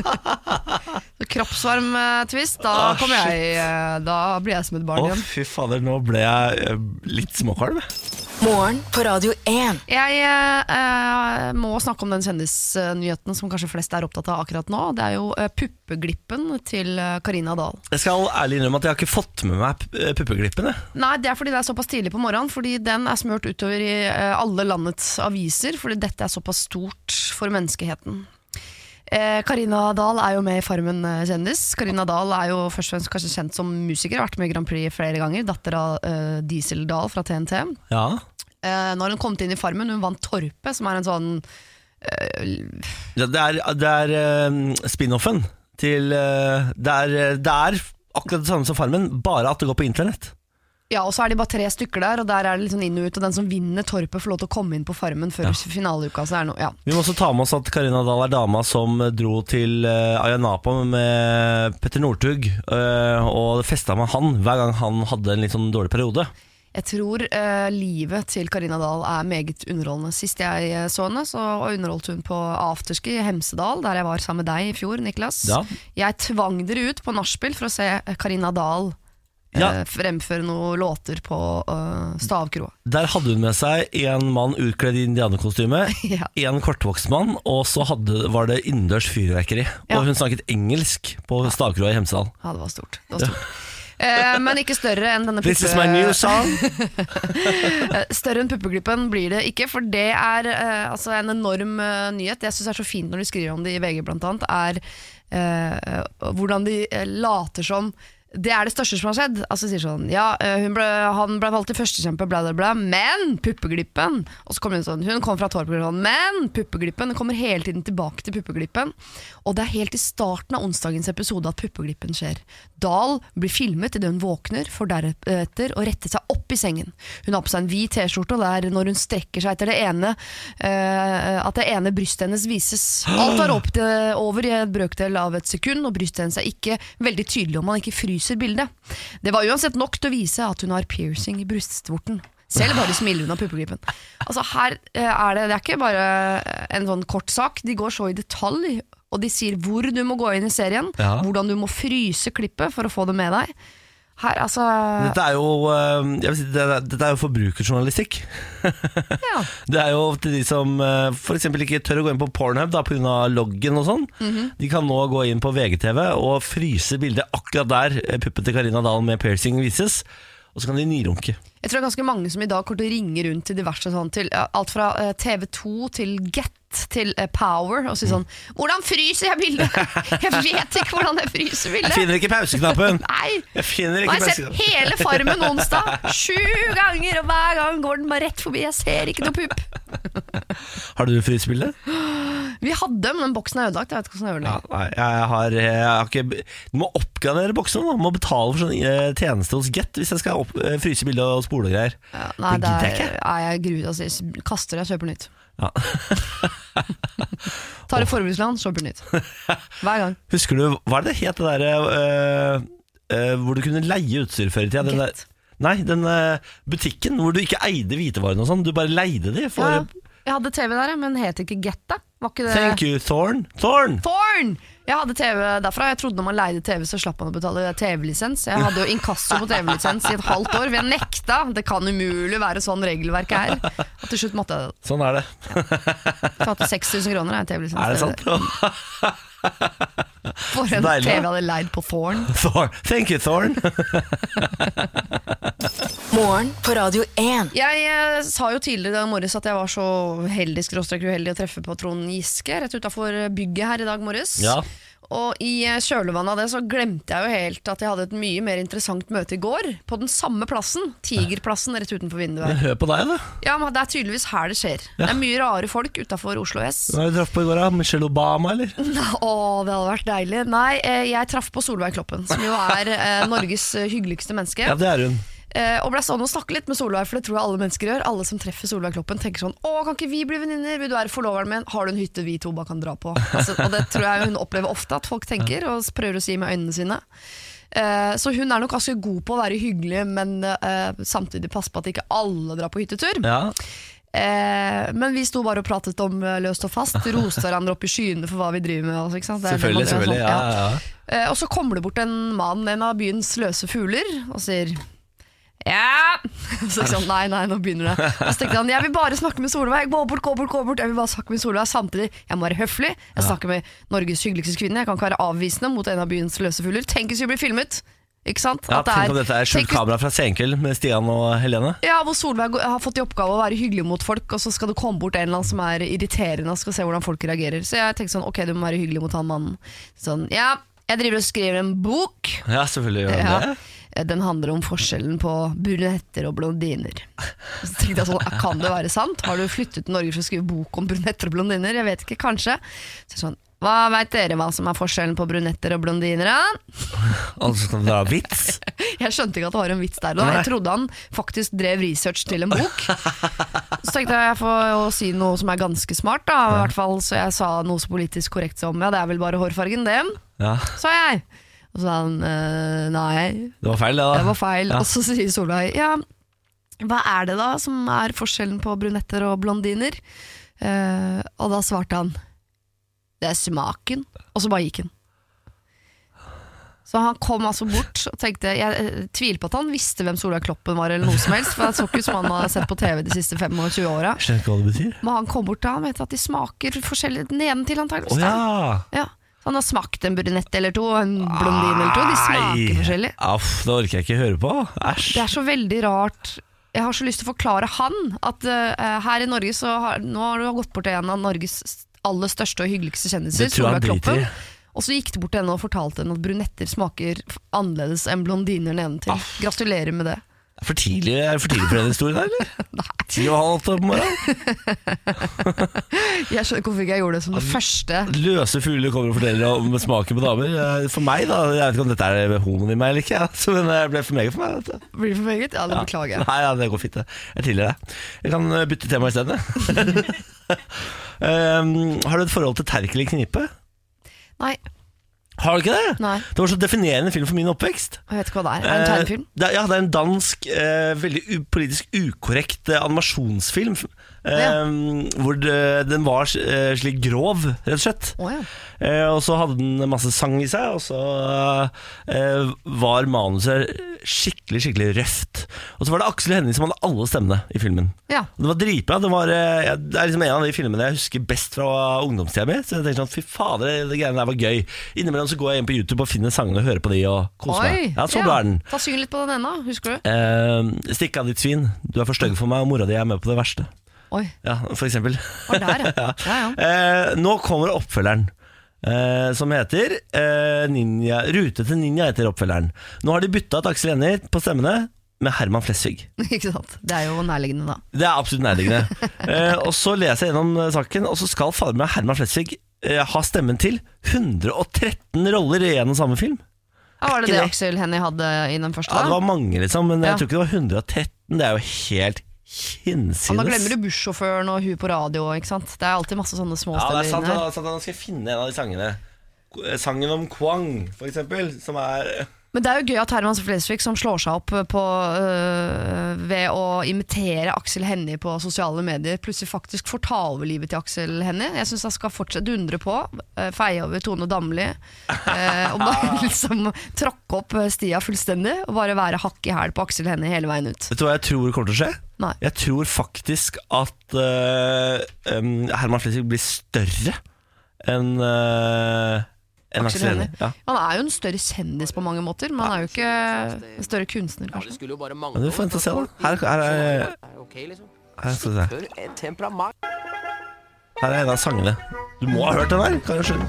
S2: Så kroppsvarm eh, twist, da
S1: Ah,
S2: kommer jeg eh, Da blir jeg som et
S1: Å,
S2: barn igjen.
S1: fy fader, nå ble jeg eh, litt småkvalm.
S3: Morgen på Radio 1.
S2: Jeg eh, eh, må snakke om den kjendisnyheten som kanskje flest er opptatt av akkurat nå. Det er jo eh, puppeglippen til eh, Karina Dahl.
S1: Jeg skal ærlig innrømme at jeg har ikke fått med meg p- eh, puppeglippen. jeg.
S2: Nei, det er fordi det er såpass tidlig på morgenen, fordi den er smørt utover i eh, alle landets aviser, fordi dette er såpass stort for menneskeheten. Eh, Karina Dahl er jo med i Farmen eh, kjendis. Karina Dahl er jo først og fremst kanskje kjent som musiker, har vært med i Grand Prix flere ganger, datter av eh, Diesel Dahl fra TNT.
S1: Ja.
S2: Eh, når hun kom inn i Farmen, hun vant Torpet, som er en sånn eh,
S1: Det det er, det er eh, spin-offen til eh, det er, det er akkurat det samme som Farmen, bare at det går på internett.
S2: Ja, og så er de bare tre stykker der, og der er det litt sånn inn og ut, og den som vinner Torpet får lov til å komme inn på Farmen før finaleuka, så det er noe, ja.
S1: Vi må også ta med oss at Karina Dahl er dama som dro til eh, Ayanapa med Petter Northug eh, og festa med han hver gang han hadde en litt sånn dårlig periode.
S2: Jeg tror eh, livet til Karina Dahl er meget underholdende. Sist jeg eh, så henne, så underholdt hun på afterski i Hemsedal, der jeg var sammen med deg i fjor, Niklas.
S1: Ja.
S2: Jeg tvang dere ut på nachspiel for å se Karina Dahl eh,
S1: Ja.
S2: fremføre noen låter på eh, stavkroa. <laughs>
S1: Der hadde hun med seg en mann utkledd i indianerkostyme,
S2: Ja.
S1: en kortvokst mann, og så hadde, var det innendørs fyrverkeri.
S2: Ja.
S1: Og hun snakket engelsk på Stavkroa i Hemsedal.
S2: Ja, det var stort.
S1: <laughs>
S2: Det var stort. Eh, men ikke større enn denne
S1: This is
S2: puppe-
S1: my new song.
S2: Eh, Større enn puppeglippen blir det ikke, for det er eh, altså en enorm eh, nyhet. Det jeg syns er så fint når de skriver om det i VG, blant annet, er eh, hvordan de eh, later som det er det største som har skjedd. Altså sier sånn, ja, eh, hun ble, Han ble valgt til førstekjempe, bla, bla, bla, men puppeglippen! Og så kommer hun sånn, hun kom fra Torp, sånn, men puppeglippen! Det kommer hele tiden tilbake til puppeglippen. Og det er helt i starten av onsdagens episode at puppeglippen skjer. Dahl blir filmet idet hun våkner, for deretter å rette seg opp i sengen. Hun har på seg en hvit T-skjorte, og det er når hun strekker seg etter det ene, eh, at det ene brystet hennes vises. Alt var opp til, over i en brøkdel av et sekund, og brystet hennes er ikke veldig tydelig om man ikke fryser bildet. Det var uansett nok til å vise at hun har piercing i brystvorten. Selv bare smiler hun av puppegripen. Altså her eh, er det, det er ikke bare en sånn kort sak, de går så i detalj, og de sier hvor du må gå inn i serien,
S1: Ja.
S2: hvordan du må fryse klippet for å få det med deg. Her, altså
S1: Dette er jo, eh, jeg vil si, det er, dette er jo forbrukerjournalistikk.
S2: ja.
S1: Det er jo til de som f.eks. ikke tør å gå inn på Pornhub da, pga. loggen og sånn.
S2: Mhm.
S1: De kan nå gå inn på VGTV og fryse bildet akkurat der eh, puppen til Karina Dahl med piercing vises. Og så kan de nyrunke.
S2: Jeg tror det er ganske mange som i dag kommer til å ringe rundt til diverse sånn til ja, alt fra eh, TV2 til Get til eh, Power og si
S1: Mm.
S2: sånn Hvordan fryser jeg bildet?! <laughs> Jeg vet ikke hvordan jeg fryser
S1: Jeg
S2: bildet!
S1: finner ikke pauseknappen!
S2: Nei!
S1: Jeg finner
S2: Nå
S1: ikke
S2: har jeg sett
S1: pauseknappen.
S2: hele Farmen onsdag sju ganger, og hver gang går den bare rett forbi. Jeg ser ikke noe pupp.
S1: Har du frysebilde?
S2: Vi hadde, men den boksen er ødelagt. Jeg vet ikke hvordan jeg gjør det.
S1: Ja, nei, jeg har, eh, jeg har ikke Du må oppgradere boksene. da. Du Må betale for sånn eh, tjeneste hos Get hvis jeg skal opp, eh, fryse bilde og spole og greier.
S2: Ja, nei,
S1: det
S2: det
S1: gidder jeg
S2: er, nei, jeg gruer altså, Jeg kaster det, jeg kjøper nytt.
S1: Ja. <laughs>
S2: Tar et forbrukslån, kjøper nytt.
S1: <laughs>
S2: Hver gang.
S1: Husker du, hva er det het det derre eh, eh, Hvor du kunne leie utstyr før i tida? Den der,
S2: Get.
S1: nei, den eh, butikken hvor du ikke eide hvitevarene og sånn. Du bare leide de for
S2: Ja, jeg hadde TV der, men het ikke Get, da? Var ikke det
S1: Thank you, Thorn. Thorn!
S2: Porn! Jeg hadde TV derfra. Jeg trodde når man leide TV, så slapp man å betale TV-lisens. Jeg hadde jo inkasso på TV-lisens i et halvt år, for jeg nekta. Det kan umulig være sånn regelverket er. Og til slutt måtte jeg det.
S1: Sånn er det.
S2: Tatt 6000 kroner er en TV-lisens.
S1: Er det sant?
S2: For
S1: Deilig,
S2: en
S1: da.
S2: TV jeg hadde leid på Thorn.
S1: <laughs> Thorn. Thank you, Thorn.
S3: Morgen på Radio 1.
S2: Jeg eh, sa jo tidligere i dag morges at jeg var så heldig skråstrek uheldig å treffe på Trond Giske rett utafor bygget her i dag morges.
S1: <laughs> Ja.
S2: Og i eh, kjølvannet av det så glemte jeg jo helt at jeg hadde et mye mer interessant møte i går. På den samme plassen. Tigerplassen rett utenfor vinduet.
S1: Men hør på deg, da.
S2: Ja, men Det er tydeligvis her det skjer. Det er mye rare folk utafor Oslo S. <laughs>
S1: Hva har du traff på i går, da? Michelle Obama, eller?
S2: Å, det hadde vært deilig. Nei, eh, jeg traff på Solveig Kloppen, som jo er eh, Norges eh, hyggeligste menneske.
S1: Ja, det er hun.
S2: Eh, og ble stående og snakke litt med Solveig, for det tror jeg alle mennesker gjør. Alle som treffer Solveig Kloppen, tenker sånn Å, kan ikke vi bli venninner? Vil du være forloveren min? Har du en hytte vi to bare kan dra på? Altså, og det tror jeg hun opplever ofte at folk tenker, og prøver å si med øynene sine. Eh, så hun er nok ganske god på å være hyggelig, men eh, samtidig passe på at ikke alle drar på hyttetur.
S1: Ja.
S2: Eh, men vi sto bare og pratet om eh, løst og fast, roste hverandre opp i skyene for hva vi driver med. Også, ikke sant? Det er det man
S1: Selvfølgelig,
S2: gjør,
S1: selvfølgelig.
S2: sånn,
S1: Ja,
S2: ja.
S1: ja. ja.
S2: Eh, Og så kommer det bort en mann, en av byens løse fugler, og sier ja! <laughs> Så tenkte jeg sånn, nei, nei, nå begynner det. Og så tenkte han, jeg vil bare snakke med Solveig. Gå bort, gå bort, gå bort. Jeg vil bare snakke med Solveig. Samtidig, jeg må være høflig. Jeg snakker med Norges hyggeligste kvinne. Jeg kan ikke være avvisende mot en av byens løse fugler. Tenk hvis vi blir filmet. Ikke sant?
S1: Ja,
S2: At det
S1: tenk om dette er skjult
S2: tenk hvis-
S1: kamera fra Senkveld med Stian og Helene.
S2: Ja, hvor Solveig har fått i oppgave å være hyggelig mot folk, og så skal det komme bort en eller annen som er irriterende og skal se hvordan folk reagerer. Så jeg tenkte sånn, ok, du må være hyggelig mot han mannen. Sånn, ja, jeg driver og skriver en bok.
S1: Ja, selvfølgelig gjør han
S2: Ja.
S1: det.
S2: Den handler om forskjellen på brunetter og blondiner. Så tenkte jeg sånn, Kan det være sant? Har du flyttet til Norge for å skrive bok om brunetter og blondiner? Jeg vet ikke, kanskje. Så sånn, Hva veit dere hva som er forskjellen på brunetter og blondiner? da?
S1: Altså, kan det være <laughs> vits?
S2: Jeg skjønte ikke at det var en vits der. Da. Jeg trodde han faktisk drev research til en bok. Så tenkte jeg jeg får jo si noe som er ganske smart, da. I hvert fall, så jeg sa noe så politisk korrekt som ja, det er vel bare hårfargen, det,
S1: Ja,
S2: sa jeg. Og så sa han «Eh, nei,
S1: det var feil, det da.
S2: det var feil.
S1: Ja.
S2: Og så sier Solveig ja, hva er det da som er forskjellen på brunetter og blondiner? Eh, og da svarte han det er smaken. Og så bare gikk han. Så han kom altså bort og tenkte Jeg eh, tviler på at han visste hvem Solveig Kloppen var, eller noe som helst, for det så ikke ut som han har sett på TV de siste 25 åra.
S1: Skjønner ikke hva det betyr.
S2: Men han kom bort da, han vet at de smaker forskjellig den ene til,
S1: Å
S2: antakeligvis.
S1: ja!
S2: Ja. Så han har smakt en brunett eller to, og en blondin eller to. De smaker
S1: Nei.
S2: forskjellig.
S1: Aff, det orker jeg ikke høre på. Æsj.
S2: Det er så veldig rart. Jeg har så lyst til å forklare han at eh, her i Norge så har, nå har du gått bort til en av Norges aller største og hyggeligste kjendiser,
S1: Det tror jeg han
S2: Solveig Kloppen.
S1: driter i.
S2: Og så gikk du bort til henne og fortalte henne at brunetter smaker f- annerledes enn blondiner
S1: Ah.
S2: nedentil. Gratulerer med det.
S1: Er For tidlig, er det for tidlig for den historien, her,
S2: <laughs>
S1: eller? Nei. Ti og halv åtte på morgenen.
S2: Jeg skjønner ikke hvorfor ikke jeg gjorde det som det første.
S1: Løse fugler kommer og forteller om smaken på damer. Eh, For meg, da. Jeg vet ikke om dette er homoen i meg eller ikke, ja. så men det ble for meget for meg. Vet du.
S2: Blir det for meget? Ja, det
S1: Ja.
S2: beklager jeg.
S1: Nei, ja, det går fint. det. Jeg tilgir deg. Jeg kan eh, bytte tema
S2: <laughs>
S1: <laughs> isteden. jeg. um, har du et forhold til Terkel i Knipe?
S2: Nei,
S1: Har du ikke det?
S2: nei,
S1: Det var så definerende film for min oppvekst.
S2: jeg vet ikke hva det er. Er det en tegnefilm?
S1: Eh, det er- ja, det er en dansk, eh, veldig u politisk ukorrekt eh, animasjonsfilm. eh,
S2: Ja.
S1: Hvor det, den var eh, slik grov, rett og slett.
S2: Å ja.
S1: Eh, og så hadde den masse sang i seg, og så eh, var manuset skikkelig, skikkelig røft. Og så var det Aksel Hennie som hadde alle stemmene i filmen.
S2: ja.
S1: Og Det var dritbra. Det, var, eh, ja, det er liksom en av de filmene jeg husker best fra ungdomstida mi. Så jeg tenkte sånn, fy fader, det- det greiene der var gøy. Innimellom så går jeg inn på YouTube og finner sangene og hører på de og koser meg. Ja, så bra er den.
S2: Ta Syng litt på den ennå, husker du?
S1: Eh, Stikk av ditt svin, du er for stygg for meg, og mora di er med på det verste.
S2: Oi, <laughs>
S1: Ja, for eksempel.
S2: var der,
S1: <laughs>
S2: ja. ja, ja.
S1: Eh, nå kommer oppfølgeren. eh, som heter eh, Ninja, Rute til ninja heter oppfølgeren. Nå har de bytta ut Aksel Hennie på stemmene med Herman Flesvig.
S2: Ikke sant? Det er jo nærliggende, da.
S1: Det er absolutt
S2: <laughs>
S1: nærliggende. eh, og så leser jeg gjennom eh, saken, og så skal fader meg Herman Flesvig eh, ha stemmen til 113 roller i en og samme film.
S2: Ja, var det
S1: Ikke
S2: det
S1: det.
S2: Aksel Hennie hadde i den første?
S1: Ja, det
S2: da?
S1: var mange, liksom, men
S2: Ja.
S1: jeg tror ikke det var 113. Det er jo helt
S2: Ja, nå
S1: hinsides.
S2: glemmer du bussjåføren og hun på radio. ikke sant? Det er alltid masse sånne små
S1: Ja, det
S2: steder
S1: er sant.
S2: inni her.
S1: Da, sant da skal jeg finne en av de sangene. eh, Sangen om Kwang, for eksempel, som er eh,
S2: Men det er jo gøy at Herman Flesvig, som slår seg opp på, øh, ved å imitere Aksel Hennie på sosiale medier, plutselig faktisk får ta over livet til Aksel Hennie. Jeg syns han skal fortsette å dundre på, øh, feie over Tone Damli. øh,
S1: <laughs>
S2: og bare liksom tråkke opp øh, stia fullstendig, og bare være hakk i hæl på Aksel Hennie hele veien ut.
S1: Vet du hva jeg tror kommer til å skje?
S2: Nei.
S1: Jeg tror faktisk at eh, em, Herman Flesvig blir større enn eh, enn
S2: Aksel
S1: Aksel Hennie.
S2: Hennie.
S1: Ja.
S2: Han er jo en større kjendis på mange måter, men han er jo ikke en større kunstner,
S4: Ja, det
S2: kanskje.
S4: skulle jo bare mangle.
S1: Men du får vente og se, da. Her, her, er,
S4: er ok, liksom.
S1: her,
S2: Altså,
S1: skal vi se.
S4: Hør, eh, temperament.
S1: her er en av sangene. Du må ha hørt den her. Kan jeg skjønne.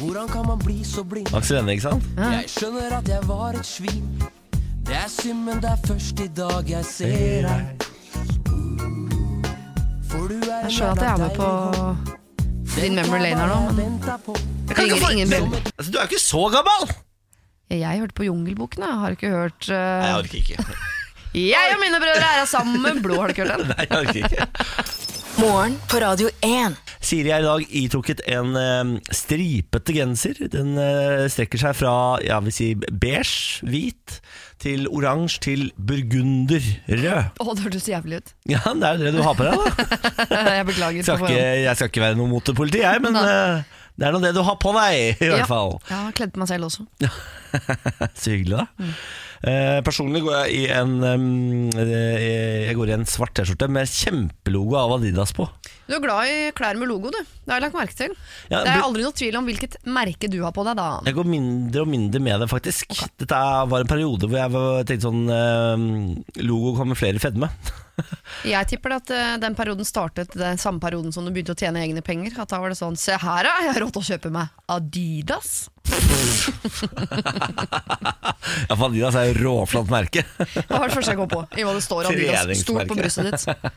S4: Hvordan kan man bli så blind?
S1: Aksel Hennie, ikke sant?
S2: Ja.
S4: Jeg skjønner at jeg var et svin. Det er synd, men det er først i dag jeg ser deg. For du er
S2: Jeg skjønner at jeg er med på din memory lane her nå, men ringer ingen bjelle.
S1: Altså, du er jo ikke så gammel!
S2: Jeg hørte på Jungelboken, jeg har ikke hørt
S1: Nei, jeg
S2: eh,
S1: orker ikke. <laughs>
S2: Jeg og mine brødre er her sammen! Blod, har du ikke hørt
S1: <laughs>
S2: den?
S1: Nei, jeg orker ikke.
S3: Morgen på Radio 1.
S1: Siri er i dag itrukket en eh, stripete genser. Den eh, strekker seg fra ja, vi sier beige, hvit, til oransje, til burgunderrød.
S2: Å, det hørtes jævlig ut. <laughs>
S1: Ja, det er jo det du har på deg, da.
S2: Jeg beklager.
S1: Skal ikke,
S2: på forhånd.
S1: jeg skal ikke være noe motepoliti, jeg, men eh, det er nå det du har på deg, i hvert fall.
S2: Ja, jeg har kledd på meg selv også.
S1: Så hyggelig, da.
S2: Mm.
S1: Eh, personlig går jeg i en, em, eh, jeg går i en svart T-skjorte med kjempelogo av Adidas på.
S2: Du er glad i klær med logo, du. Det har jeg lagt merke til.
S1: Ja,
S2: det er
S1: bl-
S2: aldri noe tvil om hvilket merke du har på deg, da.
S1: Jeg går mindre og mindre med det, faktisk. Dette er- var en periode hvor jeg var- tenkte sånn eh, Logo kamuflerer fedme. <laughs>
S2: Jeg tipper at eh, den perioden startet den samme perioden som du begynte å tjene egne penger. At da var det sånn Se her, da! Jeg har råd til å kjøpe meg Adidas.
S1: Ja, for Adidas er jo råflatt merke. <laughs>
S2: Det var det første jeg kom på. I hva det står Adidas stort på brystet ditt.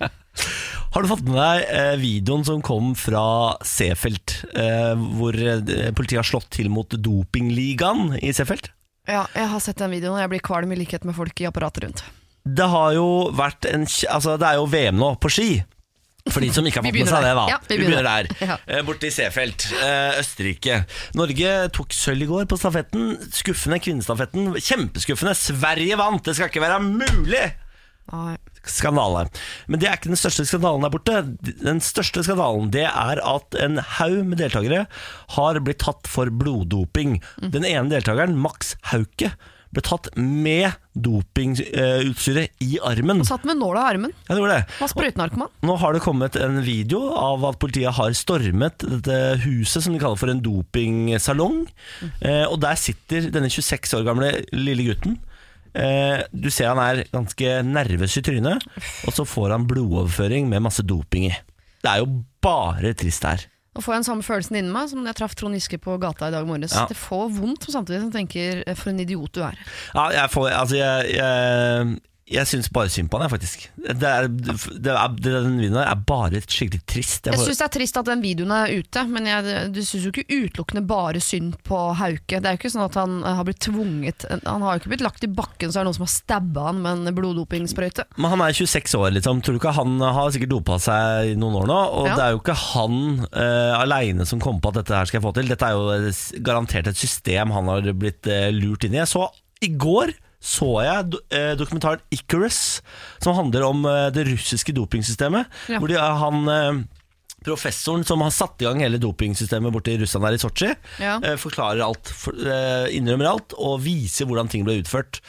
S1: Har du fått med deg eh, videoen som kom fra Seefeld, eh, hvor eh, politiet har slått til mot dopingligaen i Seefeld?
S2: Ja, jeg har sett den videoen, og jeg blir kvalm i likhet med folk i apparatet rundt.
S1: Det har jo vært en kj- Altså, det er jo VM nå, på ski. For de som ikke har
S2: Vi
S1: fått med
S2: begynner
S1: seg det,
S2: der.
S1: da.
S2: Ja, vi
S1: vi begynner
S2: begynner.
S1: der.
S2: Ja.
S1: Eh, Borte i Seefeld, eh, Østerrike. Norge tok sølv i går på stafetten. Skuffende kvinnestafetten. Kjempeskuffende. Sverige vant! Det skal ikke være mulig!
S2: Nei.
S1: skandale. Men det er ikke den største skandalen der borte. Den største skandalen det er at en haug med deltakere har blitt tatt for bloddoping. Den ene deltakeren, Max Hauke, ble tatt med dopingutstyret i armen.
S2: Satt med nåla i armen.
S1: Ja, det var det.
S2: Var sprøytenarkoman.
S1: Nå har det kommet en video av at politiet har stormet dette huset som de kaller for en dopingsalong. Eh, og der sitter denne 26 år gamle lille gutten. Eh, du ser han er ganske nervøs i trynet, og så får han blodoverføring med masse doping i. Det er jo bare trist her.
S2: Nå får jeg den samme følelsen inni meg som da jeg traff Trond Giske på gata i dag morges.
S1: Ja.
S2: Det får vondt, men samtidig som jeg tenker eh, for en idiot du er.
S1: Ja, jeg får Altså, jeg, jeg, jeg syns bare synd på han, jeg, faktisk. Det er, det er, den videoen her er bare skikkelig trist.
S2: Jeg
S1: får-
S2: syns det er trist at den videoen er ute, men jeg, du syns jo ikke utelukkende bare synd på Hauke. Det er jo ikke sånn at han eh, har blitt tvunget Han har jo ikke blitt lagt i bakken så er det noen som har stabba han med en bloddopingsprøyte.
S1: Men han er 26 år, liksom. Tror du ikke han har sikkert dopa seg i noen år nå? Og
S2: Ja.
S1: det er jo ikke han uh, aleine som kom på at dette her skal jeg få til. Dette er jo eh, s- garantert et system han har blitt eh, lurt inn i. Jeg så i går så jeg do- eh, dokumentaren Icarus, som handler om eh, det russiske dopingsystemet.
S2: Ja.
S1: Hvor de, han eh, Professoren som har satt i gang hele dopingsystemet borte i Russland her i Sotsji,
S2: Ja.
S1: eh, forklarer alt, for, eh, innrømmer alt og viser hvordan ting ble utført.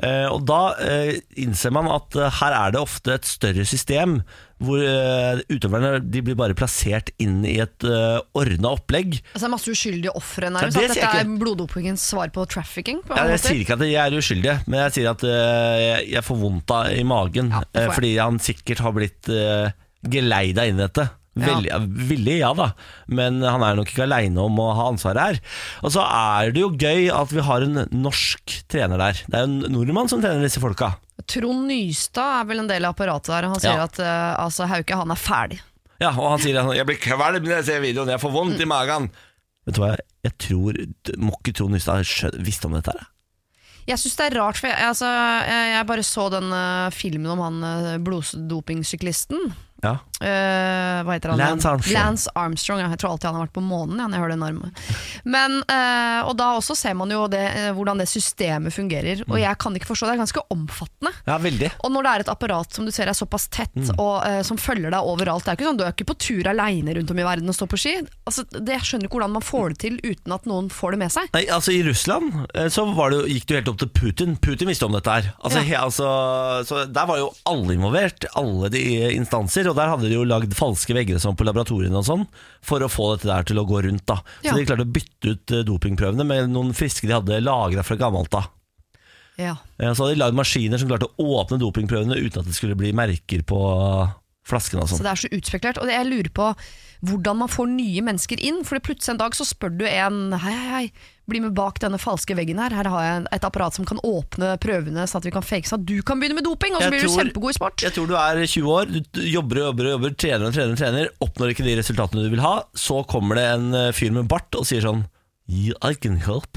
S1: Eh, og da eh, innser man at eh, her er det ofte et større system hvor eh, utøverne de blir bare plassert inn i et eh, ordna opplegg.
S2: Altså, det er masse uskyldige ofre
S1: Ja,
S2: nærmest.
S1: det
S2: at
S1: sier jeg
S2: dette er
S1: ikke.
S2: bloddopingens svar på trafficking. På
S1: Ja,
S2: en
S1: jeg
S2: måte.
S1: sier ikke at de er uskyldige, men jeg sier at eh, jeg- jeg får vondt av i magen
S2: Ja, det får
S1: eh,
S2: jeg.
S1: fordi han sikkert har blitt uh, geleida inn i dette. Veldig, Villig, ja da, men han er nok ikke aleine om å ha ansvaret her. Og så er det jo gøy at vi har en norsk trener der. Det er jo en nordmann som trener disse folka.
S2: Trond Nystad er vel en del av apparatet der, og han sier
S1: Ja.
S2: at eh, altså, Hauke han er ferdig.
S1: Ja, og han sier sånn Jeg blir kvalm når jeg ser videoen, jeg får vondt i magen. Vet du hva, jeg tror Må ikke Trond Nystad skjø- visste om dette her. jeg.
S2: Jeg syns det er rart, for jeg, altså, jeg, jeg bare så den eh, filmen om han eh, bloddopingsyklisten.
S1: Ja.
S2: Eh, hva heter han?
S1: Lance Armstrong.
S2: Lance Armstrong, ja. Jeg tror alltid han har vært på månen ja, når jeg hører den armen. Men, eh, og da også ser man jo det, eh, hvordan det systemet fungerer. Og
S1: Mm.
S2: jeg kan ikke forstå, det er ganske omfattende.
S1: ja, veldig.
S2: Og når det er et apparat som du ser er såpass tett
S1: Mm.
S2: og eh, som følger deg overalt Det er ikke sånn, Du er ikke på tur aleine rundt om i verden og står på ski. Altså, det, jeg skjønner ikke hvordan man får det til uten at noen får det med seg.
S1: Nei, altså I Russland eh, så var det, jo- gikk det jo helt opp til Putin. Putin visste om dette her. Altså,
S2: Ja.
S1: he, altså, så Der var jo alle involvert, alle de instanser. Og der hadde de jo lagd falske vegger og sånn på laboratoriene og sånn for å få dette der til å gå rundt. da Så
S2: Ja.
S1: de klarte å bytte ut eh, dopingprøvene med noen friske de hadde lagra fra gammelt av.
S2: Ja.
S1: Eh, Så hadde de lagd maskiner som klarte å åpne dopingprøvene uten at det skulle bli merker på flasken og
S2: Så
S1: sånn.
S2: det er så utspekulert. Og det- jeg lurer på hvordan man får nye mennesker inn. For plutselig en dag så spør du en hei, hei, hei, bli med bak denne falske veggen her. Her har jeg en- et apparat som kan åpne prøvene, sånn at vi kan fake sånn at du kan begynne med doping, og så
S1: Jeg
S2: blir du
S1: tror-
S2: kjempegod i sport.
S1: Jeg tror du er 20 år, du du jobber og jobber og jobber, trener og trener og trener, oppnår ikke de resultatene du vil ha, så kommer det en eh, fyr med bart og sier sånn yeah, I can help.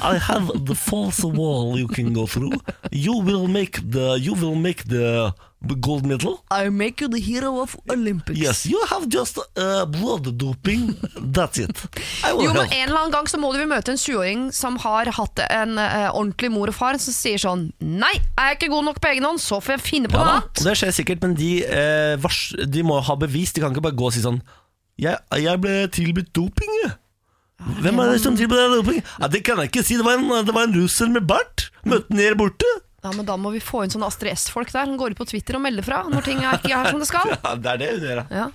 S1: I have the false wall you can go through. You will make the, you will make the gold medal.
S2: I make you the hero of Olympics.
S1: Yes, you have just uh, blood doping. That's it. I will
S2: Jo, men
S1: help.
S2: En eller annen gang så må du vel møte en 20-åring som har hatt en eh, ordentlig mor og far, som sier sånn Nei, er jeg ikke god nok på egen hånd, så får jeg finne på
S1: Ja,
S2: noe
S1: da.
S2: annet.
S1: Og det skjer sikkert, men de, eh, vars, de må ha bevis. De kan ikke bare gå og si sånn Jeg, jeg ble tilbudt doping, jeg.
S2: Ah,
S1: Hvem er det som tilbød deg doping? Ja, det kan jeg ikke si. Det var en, det var en russer med bart. Møtte den her borte.
S2: Ja, men Da må vi få inn sånne Astrid S-folk der. Hun går ut på Twitter og melder fra når ting er ikke er som det skal.
S1: Ja, det er det hun gjør, ja.
S2: Ja.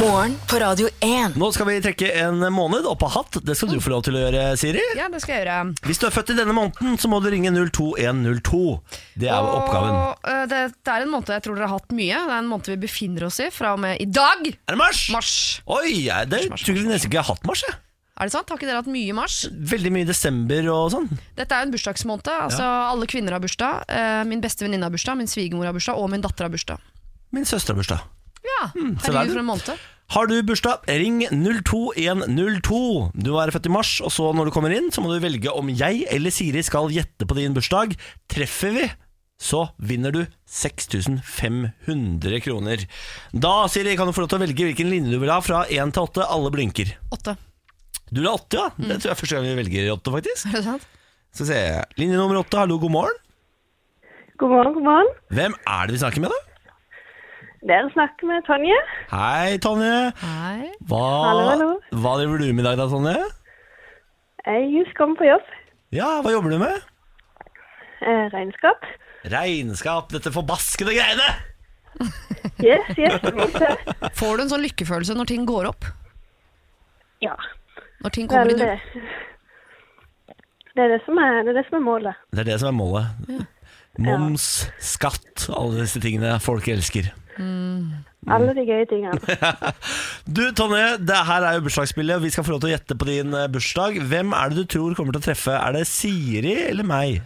S3: Morgen på Radio 1.
S1: Nå skal vi trekke en måned opp av hatt. Det skal du få lov til å gjøre, Siri.
S2: ja, det skal jeg gjøre.
S1: Hvis du er født i denne måneden, så må du ringe 02102. Det er jo oppgaven.
S2: Og, eh, det, det er en måned jeg tror dere har hatt mye. Det er en måned vi befinner oss i fra og med i dag.
S1: Er det mars?
S2: Mars.
S1: Oi, jeg, det
S2: mars,
S1: tror jeg nesten ikke jeg har hatt mars. Jeg.
S2: Er det sant? Har ikke dere hatt mye i mars?
S1: Veldig mye i desember og sånn.
S2: Dette er jo en bursdagsmåned. Altså, Alle kvinner har bursdag. eh, min beste venninne har bursdag, min svigermor har bursdag, og min datter har bursdag.
S1: Min søster har bursdag.
S2: Ja,
S1: Hmm, så der er
S2: herregud
S1: du.
S2: for en måned.
S1: Har du bursdag, ring 02102. Du er født i mars, og så når du kommer inn, så må du velge om jeg eller Siri skal gjette på din bursdag. Treffer vi, så vinner du 6500 kroner. Da, Siri, kan du få lov til å velge hvilken linje du vil ha fra 1 til 8. Alle blinker.
S2: Åtte. <laughs>
S1: Du vil ha 8, ja? Det tror jeg er første gang vi velger 8, faktisk.
S2: Er det sant?
S1: Så ser jeg. Linje nummer 8, hallo, god morgen.
S5: God morgen, god morgen.
S1: Hvem er det vi snakker med, da?
S5: Dere snakker med Tonje.
S1: Hei, Tonje.
S2: Nei.
S1: Hva,
S5: Hallo, hallo.
S1: hva driver du med i dag, da, Tonje?
S5: Jeg just kom på jobb.
S1: Ja, hva jobber du med?
S5: Eh, regnskap.
S1: Regnskap, dette forbaskede greiene!
S5: Yes, yes. lite.
S2: Får du en sånn lykkefølelse når ting går opp?
S5: Ja,
S2: Når ting kommer
S5: vel
S2: i
S5: det.
S2: null?
S5: Det er det som er, det er, det som er målet.
S1: Det er det som er målet. Moms, skatt, alle disse tingene folk elsker.
S5: Alle de gøye tingene.
S1: Du Tonje, det her er jo bursdagsspillet, og vi skal få lov til å gjette på din eh, bursdag. Hvem er det du tror kommer til å treffe? Er det Siri eller meg?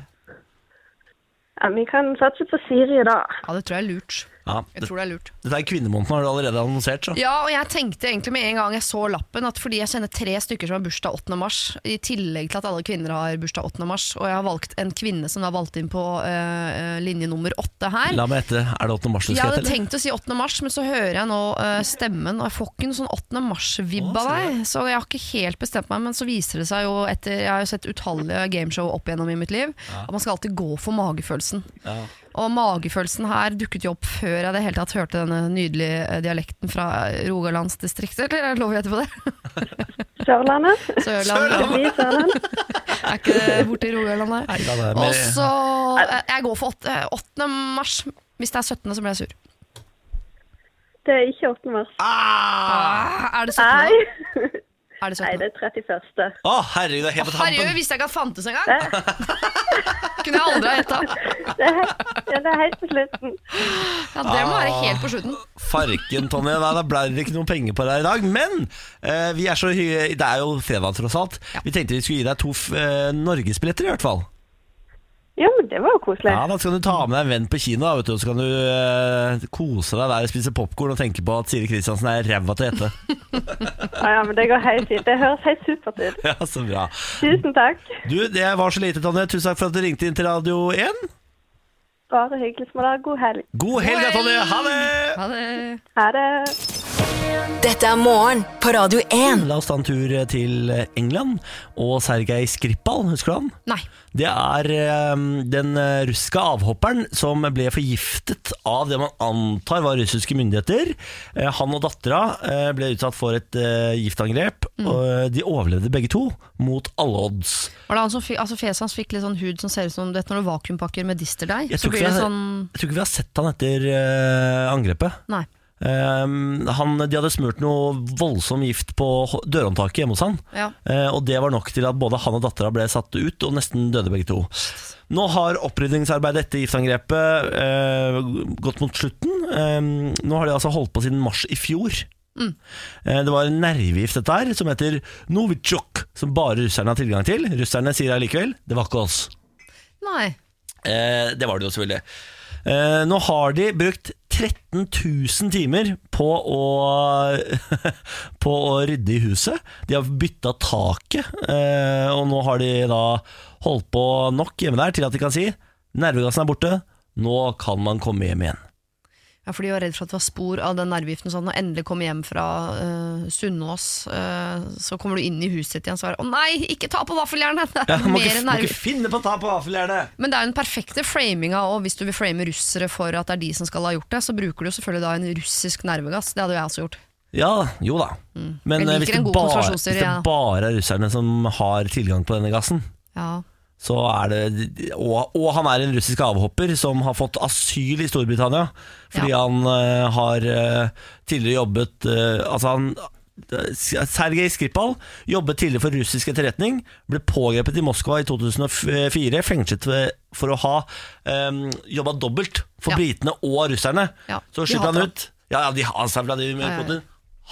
S5: Ja, vi kan satse på Siri i dag.
S2: Ja, det tror jeg er lurt.
S1: Ja,
S2: Jeg
S1: det,
S2: tror det er lurt.
S1: dette er kvinnemåneden, har du allerede annonsert, så.
S2: Ja, og jeg tenkte egentlig med en gang jeg så lappen at fordi jeg kjenner tre stykker som har bursdag 8. mars, i tillegg til at alle kvinner har bursdag 8. mars, og jeg har valgt en kvinne som da valgte inn på eh, eh, linje nummer åtte her.
S1: La meg gjette, er det 8. mars du
S2: Jeg
S1: skal gjette?
S2: hadde
S1: eller?
S2: tenkt å si 8. mars, men så hører jeg nå eh, stemmen, og jeg får ikke noen sånn 8.
S1: Å,
S2: mars-vibb av
S1: ser du
S2: deg. Så jeg har ikke helt bestemt meg, men så viser det seg jo etter Jeg har jo sett utallige gameshow opp igjennom i mitt liv, at man skal alltid gå for magefølelsen.
S1: Ja.
S2: Og magefølelsen her dukket jo opp før jeg i det hele tatt hørte denne nydelige eh, dialekten fra eh, Rogalandsdistriktet, eller er det lov
S1: <laughs>
S2: å gjette på det?
S5: Sørlandet.
S2: Sørland,
S5: Vi i Sørland.
S2: <laughs> er ikke det borte i Rogaland der?
S1: Nei, da, det er
S2: Og
S1: mer-
S2: så eh, Jeg går for 8. 8. mars. Hvis det er 17., så blir jeg sur.
S5: Det er ikke 8. mars.
S1: Ah!
S2: Er det 17.?
S5: Nei,
S2: da? Er det 17.
S5: Nei det er 31.
S1: Å, herregud, det er helt på
S2: Herregud,
S1: tampen.
S2: visste jeg ikke at fantes engang! <laughs> Kunne jeg aldri ha gjetta.
S5: Det er, helt- ja, det er helt på slutten.
S2: Ja, det må være helt
S1: Ah.
S2: på slutten.
S1: Farken, Tonje. Nei, da ble det ikke noen penger på deg i dag. Men eh, vi er så hy det er jo fredag, tross alt. Vi tenkte vi skulle gi deg to f- eh, norgesbilletter, i hvert fall.
S5: Jo, men det var jo koselig.
S1: Ja, Da skal du ta med deg en venn på kino, da, vet du, og så kan du eh, kose deg der og spise popkorn og tenke på at Siri Kristiansen er ræva til å gjette.
S5: Ja, ja, men det går helt fint. Det høres helt supert ut.
S1: ja, så bra.
S5: Tusen takk.
S1: Du, det var så lite, Tonje. Tusen takk for at du ringte inn til Radio 1.
S5: Bare hyggelig som dere. God helg.
S1: God helg, da, Tonje. Ha det!
S2: Ha det.
S5: Ha det.
S3: Dette er morgen på Radio 1.
S1: La oss ta en tur til England og Sergej Skripal, husker du han?
S2: Nei.
S1: Det er eh, den eh, russiske avhopperen som ble forgiftet av det man antar var russiske myndigheter. Eh, Han og dattera eh, ble utsatt for et eh, giftangrep, og eh, de overlevde begge to mot alle odds.
S2: Var det han som fikk, altså Fjeset hans fikk litt sånn hud som ser ut som du vet, når du vakuumpakker med disterdeig.
S1: Jeg
S2: Så
S1: tror,
S2: blir
S1: ikke
S2: det
S1: vi,
S2: sånn
S1: har, jeg tror ikke vi har sett han etter eh, angrepet.
S2: Nei.
S1: Eh, han, de hadde smurt noe voldsom gift på hå- dørhåndtaket hjemme hos han.
S2: Ja.
S1: Eh, og det var nok til at både han og dattera ble satt ut, og nesten døde begge to. Nå har opprydningsarbeidet etter giftangrepet eh, gått mot slutten, Ehm, nå har de altså holdt på siden mars i fjor. Eh, Det var en nervegift dette her, som heter Novitsjok, som bare russerne har tilgang til. Russerne sier allikevel det var ikke oss.
S2: Nei.
S1: Eh, det var det jo selvfølgelig. Eh, nå har de brukt 13 000 timer på å, <laughs> på å rydde i huset. De har bytta taket, eh, og nå har de da holdt på nok hjemme der til at de kan si nervegassen er borte, nå kan man komme hjem igjen.
S2: Ja, for de var redd for at det var spor av den nervegiften. Sånn, når jeg endelig kommer hjem fra eh, Sunnaas, eh, så kommer du inn i huset ditt igjen og svarer 'Å nei, ikke ta på vaffeljernet!' Det
S1: Ja,
S2: er
S1: må,
S2: mer
S1: ikke, må ikke
S2: nerve.
S1: finne på å ta på vaffeljernet!
S2: Men det er jo den perfekte framinga òg, hvis du vil frame russere for at det er de som skal ha gjort det. Så bruker du selvfølgelig da en russisk nervegass. Det hadde jo jeg også gjort.
S1: Ja, jo da. Men
S2: Jeg
S1: eh,
S2: liker
S1: hvis
S2: en
S1: det,
S2: god
S1: bare, hvis
S2: konspirasjonsteori,
S1: det
S2: ja.
S1: bare er russerne som har tilgang på denne gassen,
S2: Ja.
S1: så er det og, og han er en russisk avhopper som har fått asyl i Storbritannia fordi
S2: Ja.
S1: han eh, har eh, tidligere jobbet eh, Altså, han Sergej Skripal jobbet tidligere for russisk etterretning, ble pågrepet i Moskva i 2004, fengslet ved- for å ha um, jobba dobbelt for
S2: Ja.
S1: britene og russerne.
S2: Ja,
S1: Så
S2: de
S1: slipper
S2: hater
S1: han
S2: han.
S1: ut. Ja, ja, de hater Vladimir
S2: ja, ja.
S1: Putin.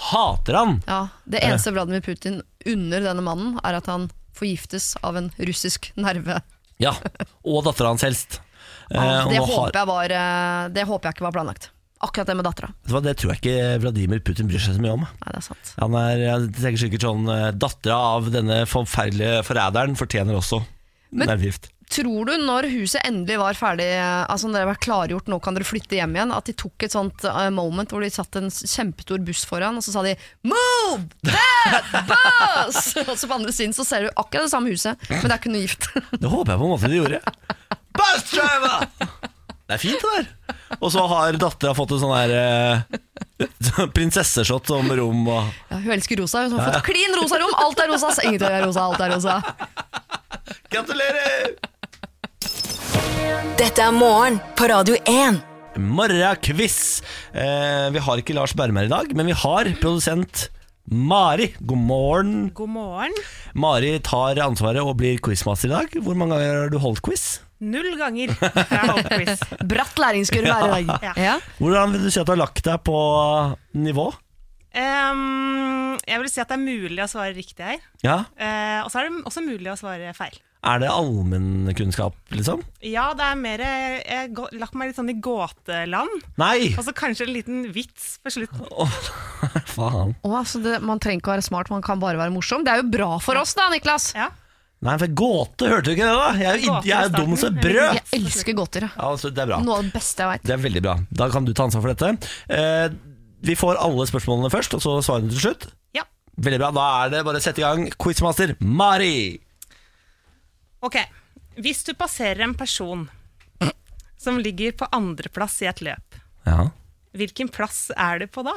S1: Hater han!
S2: ja. Det eneste Vladimir Putin unner denne mannen, er at han forgiftes av en russisk nerve.
S1: Ja, Og dattera hans helst. Eh, og
S2: det,
S1: nå har-
S2: håper jeg var, eh, det håper jeg ikke var planlagt. Akkurat det med dattera.
S1: Vet du hva, det tror jeg ikke Vladimir Putin bryr seg så mye om.
S2: Nei, det er sant.
S1: Han er jeg tenker sikkert sånn eh, Dattera av denne forferdelige forræderen fortjener også
S2: Men-
S1: nervegift.
S2: Tror du når huset endelig var ferdig, altså når det var klargjort, nå kan dere flytte hjem igjen, at de tok et sånt eh, moment hvor de satt en s- kjempestor buss foran, og så sa de 'move that bus'! <laughs> og så på andre siden så ser du akkurat det samme huset, men det er ikke noe gift. <laughs>
S1: Det håper jeg på en måte de gjorde. Bus driver! Det er fint, det der. Og så har dattera fått en sånn her eh, <laughs> prinsesseshot om rom og
S2: ja, hun elsker rosa, hun har fått klin rosa rom, alt er rosa, så ingenting er rosa, alt er rosa.
S1: Gratulerer!
S3: Dette er morgen på Radio 1.
S1: Morgenquiz. Eh, vi har ikke Lars Bermer i dag, men vi har produsent Mari. God morgen.
S6: God morgen.
S1: Mari tar ansvaret og blir quizmaster i dag. Hvor mange ganger har du holdt quiz?
S6: Null ganger. Jeg har holdt <laughs> quiz.
S2: Bratt læringskurve her i dag.
S6: Ja.
S2: Ja.
S1: Hvordan vil du si at du har lagt deg på uh, nivå?
S6: Ehm, jeg vil si at det er mulig å svare riktig her.
S1: Ja,
S6: Eh, og så er det også mulig å svare feil.
S1: Er det allmennkunnskap, liksom?
S6: Ja, det er mer eh, Jeg har gå- lagt meg litt sånn i gåteland.
S1: Nei!
S6: Og så kanskje en liten vits på slutten.
S1: <laughs> Faen.
S2: Å, altså det, man trenger ikke å være smart, man kan bare være morsom. Det er jo bra for oss da, Niklas.
S6: Ja.
S1: Nei, for gåte, hørte du ikke det, da? Jeg er jo,
S6: Gåte i
S1: jeg er jo dum
S6: starten.
S1: som et brød!
S2: Jeg elsker godteri.
S1: Ja, altså, det er bra.
S2: Noe av det beste jeg veit.
S1: Det er veldig bra. Da kan du ta ansvar for dette. Eh, vi får alle spørsmålene først, og så svarene til slutt.
S6: ja.
S1: Veldig bra. Da er det bare å sette i gang quizmaster Mari!
S6: Ok. Hvis du passerer en person som ligger på andreplass i et løp,
S1: Ja.
S6: hvilken plass er du på da?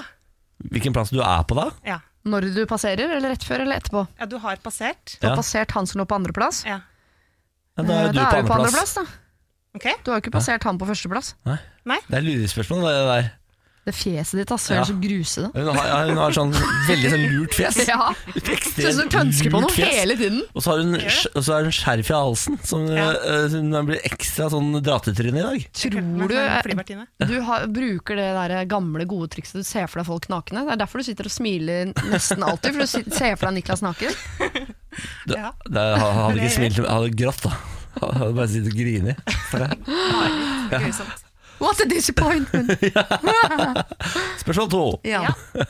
S1: Hvilken plass du er på da?
S6: Ja,
S2: Når du passerer, eller rett før eller etterpå?
S6: ja du har passert.
S2: Du har
S1: Ja.
S2: passert han som lå på andreplass.
S6: Ja.
S1: Ja, Eh, da er du på
S2: du på
S1: andreplass.
S2: andreplass, da.
S6: Ok.
S2: Du har jo ikke passert han på førsteplass.
S1: Det er lurespørsmål, det der.
S2: Det fjeset ditt, ass. Du er
S1: Ja.
S2: så grusete.
S1: Hun har, ja, hun har sånn veldig sånn lurt fjes.
S2: <laughs> Ja. Ser ut som du pønsker på
S1: lurt
S2: noe
S1: fjes.
S2: hele tiden.
S1: Og så har hun, og så har hun skjerf i halsen, som
S6: Ja.
S1: eh, som hun blir ekstra sånn dratetryne i dag.
S2: Tror du
S6: Flyvertinne.
S2: du har, bruker det der gamle, gode trikset du ser for deg folk nakne? Det er derfor du sitter og smiler nesten alltid, for du sit- ser for deg Niklas naken.
S1: Det,
S6: Ja.
S1: det hadde ikke smilt, jeg hadde grått da. Jeg hadde bare sittet og grinet.
S6: Grusomt.
S2: What a disappointment!
S1: Spørsmål to.
S2: Ja.
S6: Ja.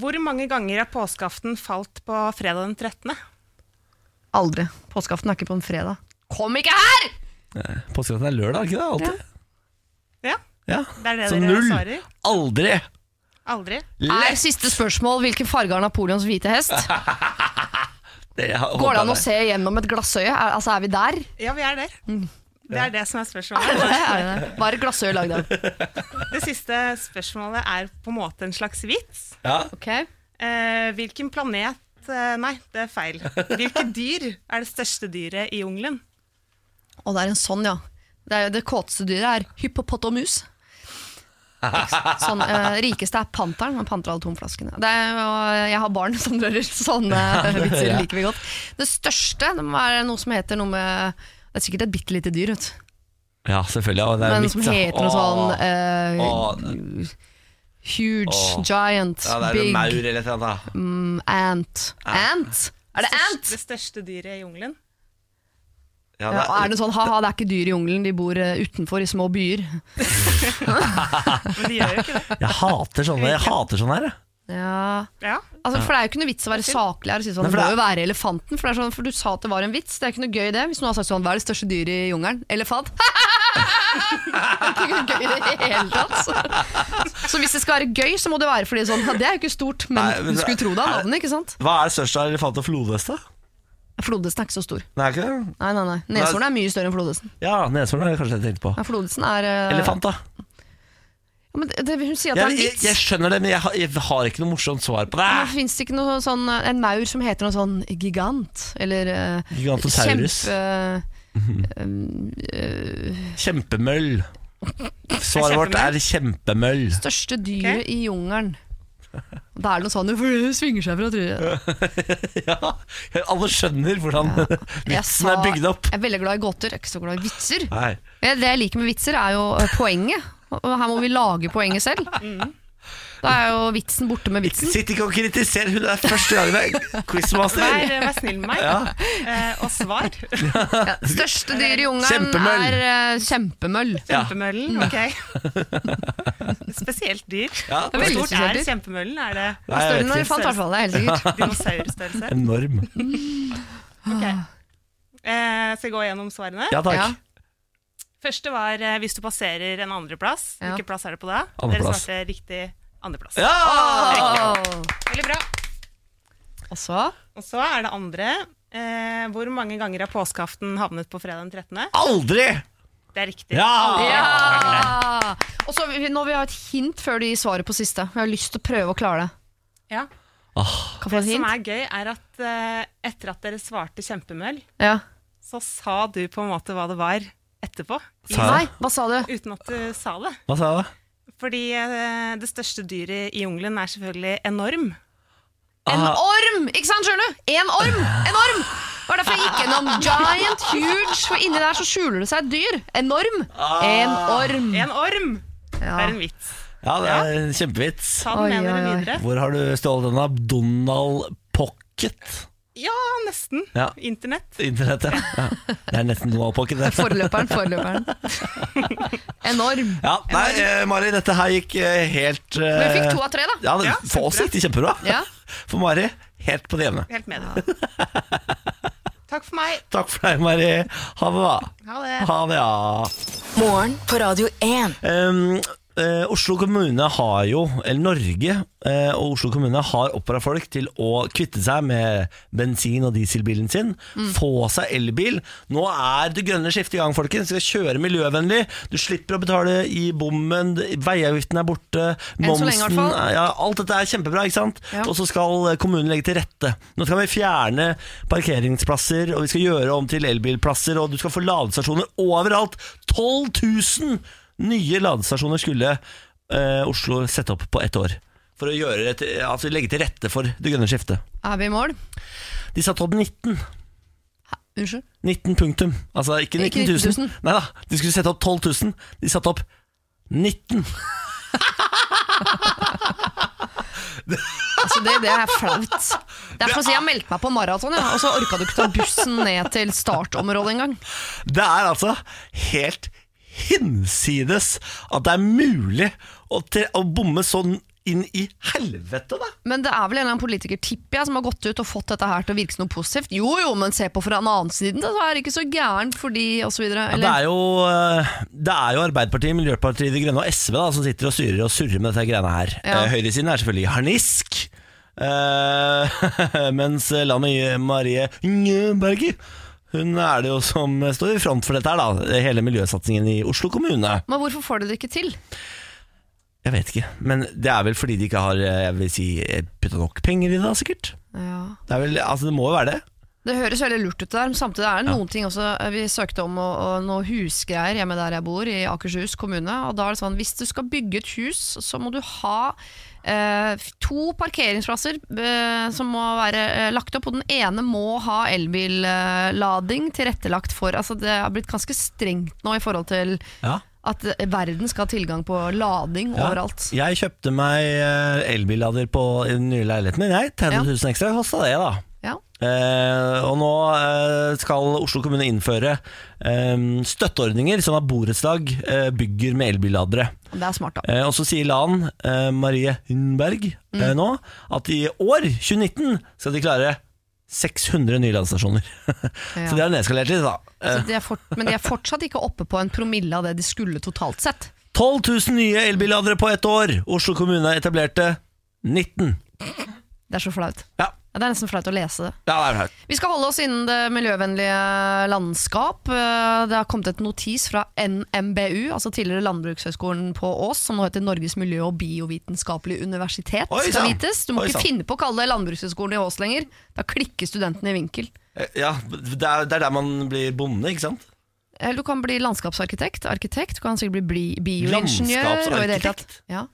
S6: Hvor mange ganger er påskeaften falt på fredag den 13.?
S2: Aldri. Påskeaften er ikke på en fredag. Kom ikke her!
S1: Påskeaften er lørdag, ikke det? Alltid.
S6: Ja,
S1: Ja.
S6: det er det
S1: Så
S6: dere
S1: null.
S6: svarer.
S1: Aldri.
S6: Aldri.
S2: Er siste spørsmål hvilken farge har Napoleons hvite
S1: <laughs>
S2: hest? Går det an å se gjennom et glassøye? Er, altså, er vi der?
S6: Ja, vi er der.
S2: Mm.
S6: Det er det som er
S2: Er
S6: spørsmålet.
S2: det det? Er det det? Hva er et glassøye lagd av?
S6: Det siste spørsmålet er på en måte en slags vits.
S1: Ja.
S2: Ok.
S6: Eh, hvilken planet eh, Nei, det er feil. Hvilket dyr er det største dyret i jungelen?
S2: Og det er en sånn, ja. Det, er, jo- det kåteste dyret er hypopotamus. Sånn, eh, rikeste er panteren, men panter alle tomflaskene. Det er, og jeg har barn som rører sånne
S1: <laughs>
S2: vitser,
S1: hører jeg.
S2: liker vi godt. Det største det må være noe som heter noe med Det er sikkert et bitte lite dyr, vet du.
S1: Ja, selvfølgelig. Og det er
S2: men
S1: mitt,
S2: som
S1: da.
S2: heter noe sånn
S1: Åh.
S2: eh,
S1: Åh.
S2: Huge,
S1: Åh.
S2: giant,
S1: Ja, det er en
S2: big
S1: maur eller et eller annet. da.
S2: mm, ant. Ant? Er det ant?
S6: Det største dyret i jungelen.
S1: Ja,
S2: Ja,
S1: det
S2: er det sånn, ha-ha, det er ikke dyr i jungelen, de bor eh, utenfor i små byer.
S6: Men de gjør jo ikke det.
S1: Jeg hater sånne, jeg hater sånne her. jeg.
S2: Ja. <laughs>
S6: Ja.
S2: Altså, for det er jo ikke noe vits å være saklig her og si sånn,
S1: Nei, for
S2: det
S1: det
S2: må
S1: er-
S2: jo være elefanten, for, det er sånn, for du sa at det var en vits, det er ikke noe gøy det. Hvis noen har sagt sånn, hva er det største dyret i jungelen? Elefant. <laughs> det er ikke noe gøy i det hele tatt. Så. så hvis det skal være gøy, så må det være fordi sånn, ja, det er jo ikke stort, men,
S1: Nei, men
S2: du
S1: det-
S2: skulle tro det av
S1: er det-
S2: navnet, ikke sant?
S1: Hva er det største av elefant og flodhest, da?
S2: Flodesen er ikke så stor.
S1: Nei, er ikke det?
S2: Nei, nei, nei. Neshorn er mye større enn flodesen.
S1: Ja, neshorn er det kanskje det jeg tenkte på.
S2: Ja, flodesen er... eh,
S1: Elefant, da.
S2: Ja, men det, det, hun sier at det er
S1: Jeg,
S2: en
S1: jeg,
S2: vits.
S1: jeg skjønner det, men jeg, har- jeg har ikke noe morsomt svar på det.
S2: Men Fins det ikke noe sånn, en maur som heter noe sånn gigant? Eller eh,
S1: Gigantosaurus.
S2: kjempe...
S1: Ah, Kjempemøll. Svaret vårt er
S2: <laughs>
S1: kjempemøll.
S2: største dyret i jungelen. Da er det noe sånn For det svinger seg fra treet.
S1: Ja, alle skjønner hvordan
S2: Jeg
S1: <laughs> vitsen er
S2: sa-
S1: bygd opp.
S2: Jeg er veldig glad i gåter, jeg er ikke så glad i vitser.
S1: Nei.
S2: Ja, Det jeg liker med vitser, er jo eh, poenget. Og her må vi lage poenget selv. Da er jo vitsen borte med vitsen.
S1: Sitt ikke og kritiser, hun er første gangen det er
S6: Vær,
S1: quizmaster.
S6: vær snill med meg, eh, og
S2: <laughs>
S6: svar.
S2: Ja, største dyr i jungelen
S1: Kjempemøll.
S2: er eh, kjempemøll.
S1: Ja.
S6: Kjempemøllen, ok. <laughs> Spesielt dyr.
S1: Ja,
S6: Hvor
S2: veldig
S6: stort
S2: spesielt
S6: er
S2: dyr.
S6: kjempemøllen? Er det
S1: Nei,
S2: Større
S1: jeg
S2: enn en
S1: vet ikke.
S2: elefant, i hvert fall. Det er helt sikkert.
S6: dinosaurstørrelse?
S1: Enorm.
S6: Ok. Eh, skal jeg gå gjennom svarene?
S1: <laughs> Ja
S2: Ja.
S1: takk.
S6: Første var eh, hvis du passerer en andreplass.
S2: Ja.
S6: Hvilken plass er det på da?
S1: Andreplass.
S6: Dere svarte riktig andreplass.
S1: Ja!
S2: Åh.
S6: Veldig bra.
S2: Og så
S6: Og så er det andre. Eh, hvor mange ganger har påskeaften havnet på fredag den 13.?
S1: Aldri!
S6: Det er riktig.
S1: Ja!
S2: Ja! Og så vi- Nå vil jeg ha et hint før de svarer på siste. Jeg har lyst til å prøve å klare det.
S6: Ja.
S2: Kan jeg få
S6: Det
S2: et
S6: som
S2: hint?
S6: er gøy, er at eh, etter at dere svarte kjempemøll,
S2: Ja.
S6: så sa du på en måte hva det var etterpå. I,
S1: Sa
S2: Nei,
S1: jeg det?
S2: hva sa du?
S6: uten at du sa det.
S1: Hva sa jeg da?
S6: Fordi eh, det største dyret i jungelen er selvfølgelig enorm.
S2: En
S1: Ah.
S2: orm! Ikke sant, skjønner du? En orm! En orm! Det var derfor jeg gikk gjennom giant, huge, for inni der så skjuler det seg et dyr. Enorm. En
S1: Ah.
S2: orm.
S6: En orm!
S2: Mm. Ja.
S6: Det er en vits.
S1: Ja, det er en kjempevits.
S6: Ta
S2: Oi,
S6: den med dere
S2: oi, oi.
S6: videre.
S1: Hvor har du stjålet den av? Donald Pocket?
S6: Ja, nesten.
S1: Ja.
S6: Internett.
S1: Internett, ja. ja. Det er nesten Donald Pocket. Det.
S2: Forløperen, forløperen. Enorm.
S1: Ja, nei, eh, Mari, dette her gikk eh, helt eh,
S2: Men vi fikk to av tre, da.
S1: Ja, det,
S6: Ja,
S1: For oss gikk det kjempebra.
S2: Ja.
S1: For Mari, helt på det jevne.
S6: Helt med dere. Takk for meg.
S1: Takk for deg, Mari. Ha det, da.
S6: Ha det.
S1: Ha det, ja.
S3: Morgen på Radio 1.
S1: Ehm, eh, Oslo kommune har jo, eller Norge eh, og Oslo kommune har oppfordra folk til å kvitte seg med bensin- og dieselbilen sin.
S2: Mm.
S1: Få seg elbil. Nå er det grønne skiftet i gang, folkens. Vi skal kjøre miljøvennlig. Du slipper å betale i bommen, veiavgiften er borte,
S2: Enn så lenge, i hvert
S1: momsen
S2: fall.
S1: er- Eh, ja, Alt dette er kjempebra, ikke sant?
S2: Ja.
S1: Og så skal kommunen legge til rette. Nå skal vi fjerne parkeringsplasser, og vi skal gjøre om til elbilplasser, og du skal få ladestasjoner overalt. 12 000 nye ladestasjoner skulle eh, Oslo sette opp på ett år. For å gjøre det til, altså legge til rette for det grønne skiftet.
S2: Er vi i mål?
S1: De satte opp 19.
S2: Unnskyld.
S1: 19 punktum. Altså ikke 19 000.
S2: 19 000.
S1: Nei da, de skulle sette opp 12 000. De satte opp 19.
S2: Altså, det, det er flaut. Derfor sier jeg meldte meg på maraton, ja, og så orka du ikke ta bussen ned til startområdet engang.
S1: Det er altså helt hinsides at det er mulig å, til, å bomme sånn inn i helvete, da.
S2: Men det er vel en eller annen politiker, tipper jeg, som har gått ut og fått dette her til å virke som noe positivt. Jo jo, men se på fra den annen side, da er det ikke så gærent fordi og så videre.
S1: Det
S2: Eller,
S1: er, jo, eh, det er jo Arbeiderpartiet, Miljøpartiet De Grønne og SV da, som sitter og styrer og surrer med dette greiene her.
S2: Ja.
S1: Eh, Høyresiden er selvfølgelig i harnisk. eh, <laughs> mens landet Marie Ngeberge hun er det jo som står i front for dette her, da. Hele miljøsatsingen i Oslo kommune.
S2: men hvorfor får dere det ikke til?
S1: Jeg vet ikke, men det er vel fordi de ikke har eh, Jeg vil si, putta nok eh, penger i det, da, sikkert.
S2: Ja.
S1: Det, er vel, altså det må jo være det.
S2: Det høres veldig lurt ut der, men samtidig er det noen ting også eh, Vi søkte om og, og noe husgreier hjemme der jeg bor, i Akershus kommune. Og da er det sånn, hvis du skal bygge et hus, så må du ha eh, to parkeringsplasser eh, som må være eh, lagt opp, og den ene må ha elbillading tilrettelagt for. Altså det har blitt ganske strengt nå i forhold til
S1: Ja.
S2: at eh, verden skal ha tilgang på lading
S1: Ja.
S2: overalt.
S1: Jeg kjøpte meg eh, elbillader på i den nye leiligheten min. Jeg, 30 000 ekstra kosta det, da.
S2: Ja.
S1: Eh, og nå eh, skal Oslo kommune innføre eh, støtteordninger sånn at borettslag eh, bygger med elbilladere.
S2: Det er smart, da.
S1: Eh, og så sier Lan eh, Marie Hundberg
S2: Mm.
S1: eh, nå at i år, 2019, skal de klare 600 nye ladestasjoner. <laughs> så de har nedskalert litt, da. Eh,
S2: Så de er fort, men de er fortsatt ikke oppe på en promille av det de skulle totalt sett.
S1: 12 000 nye elbilladere på ett år! Oslo kommune etablerte 19.
S2: Det er så flaut.
S1: Ja,
S2: Ja, det er nesten flaut å lese det.
S1: ja det er flaut.
S2: Vi skal holde oss innen det miljøvennlige landskap. Eh, Det har kommet et notis fra NMBU, altså tidligere Landbrukshøgskolen på Ås, som nå heter Norges miljø- og biovitenskapelige universitet.
S1: Oi,
S2: skal
S1: sann!
S2: vites. Du må
S1: Oi,
S2: ikke
S1: sann.
S2: finne på å kalle det Landbrukshøgskolen i Ås lenger. Da klikker studentene i vinkel.
S1: Eh, Ja, det er, det er der man blir bonde, ikke sant?
S2: Eller du kan bli landskapsarkitekt, arkitekt, du kan sikkert bli bli- bioingeniør. og i det hele tatt-
S1: Landskapsarkitekt?
S2: Ja.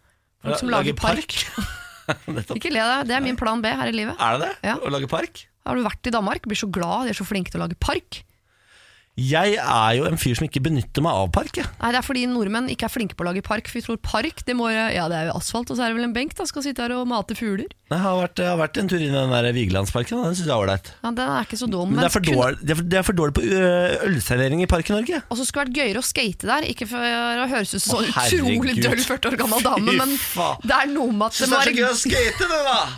S2: Folk som lager park.
S1: <laughs> Nettopp.
S2: Ikke le deg, det er min plan B her i livet.
S1: Er det det?
S2: Ja.
S1: Å lage park?
S2: Har du vært i Danmark? Blir så glad, de er så flinke til å lage park.
S1: Jeg er jo en fyr som ikke benytter meg av park. Jeg.
S2: Nei, det er fordi nordmenn ikke er flinke på å lage park. For vi tror park, det må jo- Ja, det er jo asfalt, og så er det vel en benk, da. Skal sitte her og mate fugler.
S1: Jeg har vært, jeg har vært en tur inn i den der Vigelandsparken, og den syns jeg er ålreit.
S2: Ja, den er ikke så dum.
S1: Men det er, for dårlig,
S2: kunne-
S1: det, er for, det er for dårlig på ø, ølservering i Park i Norge.
S2: Og så skulle det vært gøyere å skate der. Ikke for å høres ut
S1: Å,
S2: som sånn utrolig
S1: herregud.
S2: døll 40 år gammel dame,
S1: Fy
S2: men
S1: faen.
S2: det er noe med at det må være,
S1: skate, det, da!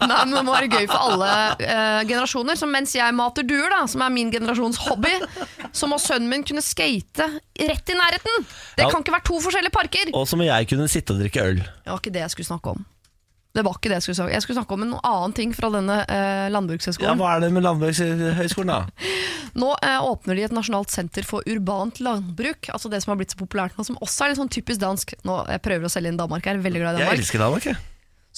S2: nei, men det må være gøy for alle eh, generasjoner. Så mens jeg mater duer, da, som er min generasjons hobby, så må sønnen min kunne skate rett i nærheten! Det
S1: Ja.
S2: kan ikke være to forskjellige parker!
S1: Og så må jeg kunne sitte og drikke øl.
S2: Det var ikke det jeg skulle snakke om. Det var ikke det Jeg skulle snakke om Jeg skulle snakke om en annen ting fra denne eh,
S1: Ja,
S2: landbrukshøgskolen.
S1: Hva er det med Landbrukshøgskolen, da?
S2: Nå eh, åpner de et nasjonalt senter for urbant landbruk. Altså Det som har blitt så populært nå, som også er litt sånn typisk dansk. Nå, Jeg prøver å selge inn Danmark her, veldig glad i
S1: Jeg
S2: Danmark.
S1: elsker Danmark, jeg.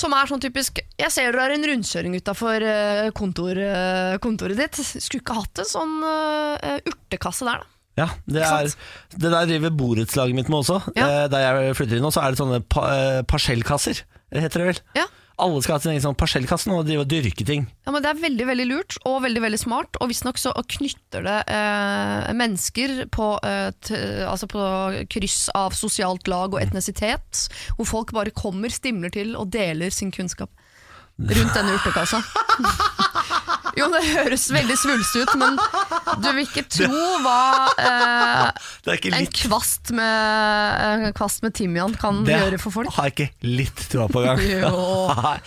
S2: Som er sånn typisk Jeg ser dere har en rundkjøring utafor eh, kontor, eh, kontoret ditt. Skulle ikke hatt en sånn eh, urtekasse der, da.
S1: Ja, det,
S2: Ikke
S1: er, det der driver borettslaget mitt med også.
S2: Ja.
S1: Eh, Der jeg flytter inn nå, så er det sånne pa, eh, parsellkasser, heter det vel.
S2: Ja.
S1: Alle skal ha sin egen sånn parsellkasse nå og drive og dyrke ting.
S2: Ja, men Det er veldig veldig lurt og veldig veldig smart. Og visstnok så knytter det eh, mennesker på, eh, t altså på kryss av sosialt lag og etnisitet, hvor folk bare kommer, stimler til og deler sin kunnskap rundt denne urtekassa. <laughs> Jo, det høres veldig svulstig ut, men du vil ikke tro hva eh,
S1: Det er ikke
S2: en
S1: litt
S2: kvast med, en kvast med timian kan
S1: Det
S2: gjøre for folk.
S1: har jeg ikke litt troa på engang.
S2: <laughs> Jo.
S1: <laughs> Nei.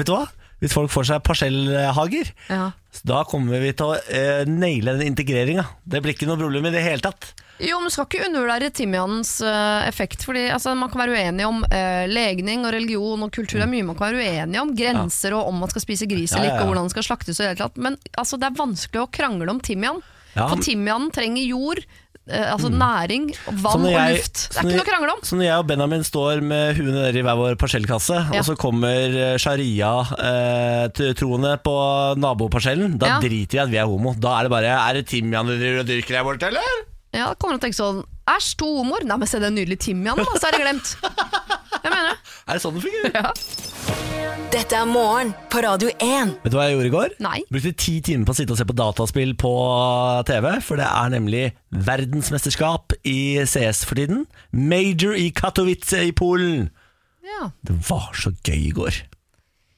S1: Vet du hva? Hvis folk får seg parsellhager,
S2: Ja.
S1: da kommer vi til å eh, naile den integreringa. Det blir ikke noe problem i det hele tatt.
S2: Jo, men du skal ikke undervurdere timianens eh, effekt. Fordi altså, Man kan være uenig om eh, legning og religion og kultur. Det er mye man kan være uenig om. Grenser og om man skal spise gris
S1: Ja,
S2: eller
S1: ja, ja.
S2: ikke, og hvordan den skal slaktes. Og i det hele tatt. Men altså, det er vanskelig å krangle om timian.
S1: Ja, men-
S2: For timianen trenger jord, eh, altså næring,
S1: Så
S2: vann
S1: når
S2: og
S1: jeg-
S2: luft. Det
S1: så
S2: er
S1: når-
S2: ikke noe å krangle om.
S1: Så når jeg og Benjamin står med huene nede i hver vår parsellkasse,
S2: Ja.
S1: og så kommer eh, sharia-troende på naboparsellen, da
S2: Ja.
S1: driter vi i at vi er homo. Da er det bare Er det timian du driver og dyrker der borte, eller?
S2: Ja, da kommer du til å tenke sånn Æsj, to homoer. Nei, men se den nydelige timianen, da, så er det glemt.
S1: <laughs>
S2: Jeg mener det.
S1: Er det sånn det fungerer?
S3: Dette er morgen på Radio 1.
S1: Vet du hva jeg gjorde i går?
S2: Nei.
S1: Brukte ti timer på å sitte og se på dataspill på TV, for det er nemlig verdensmesterskap i CS for tiden. Major i Katowice i Polen.
S2: Ja.
S1: Det var så gøy i går.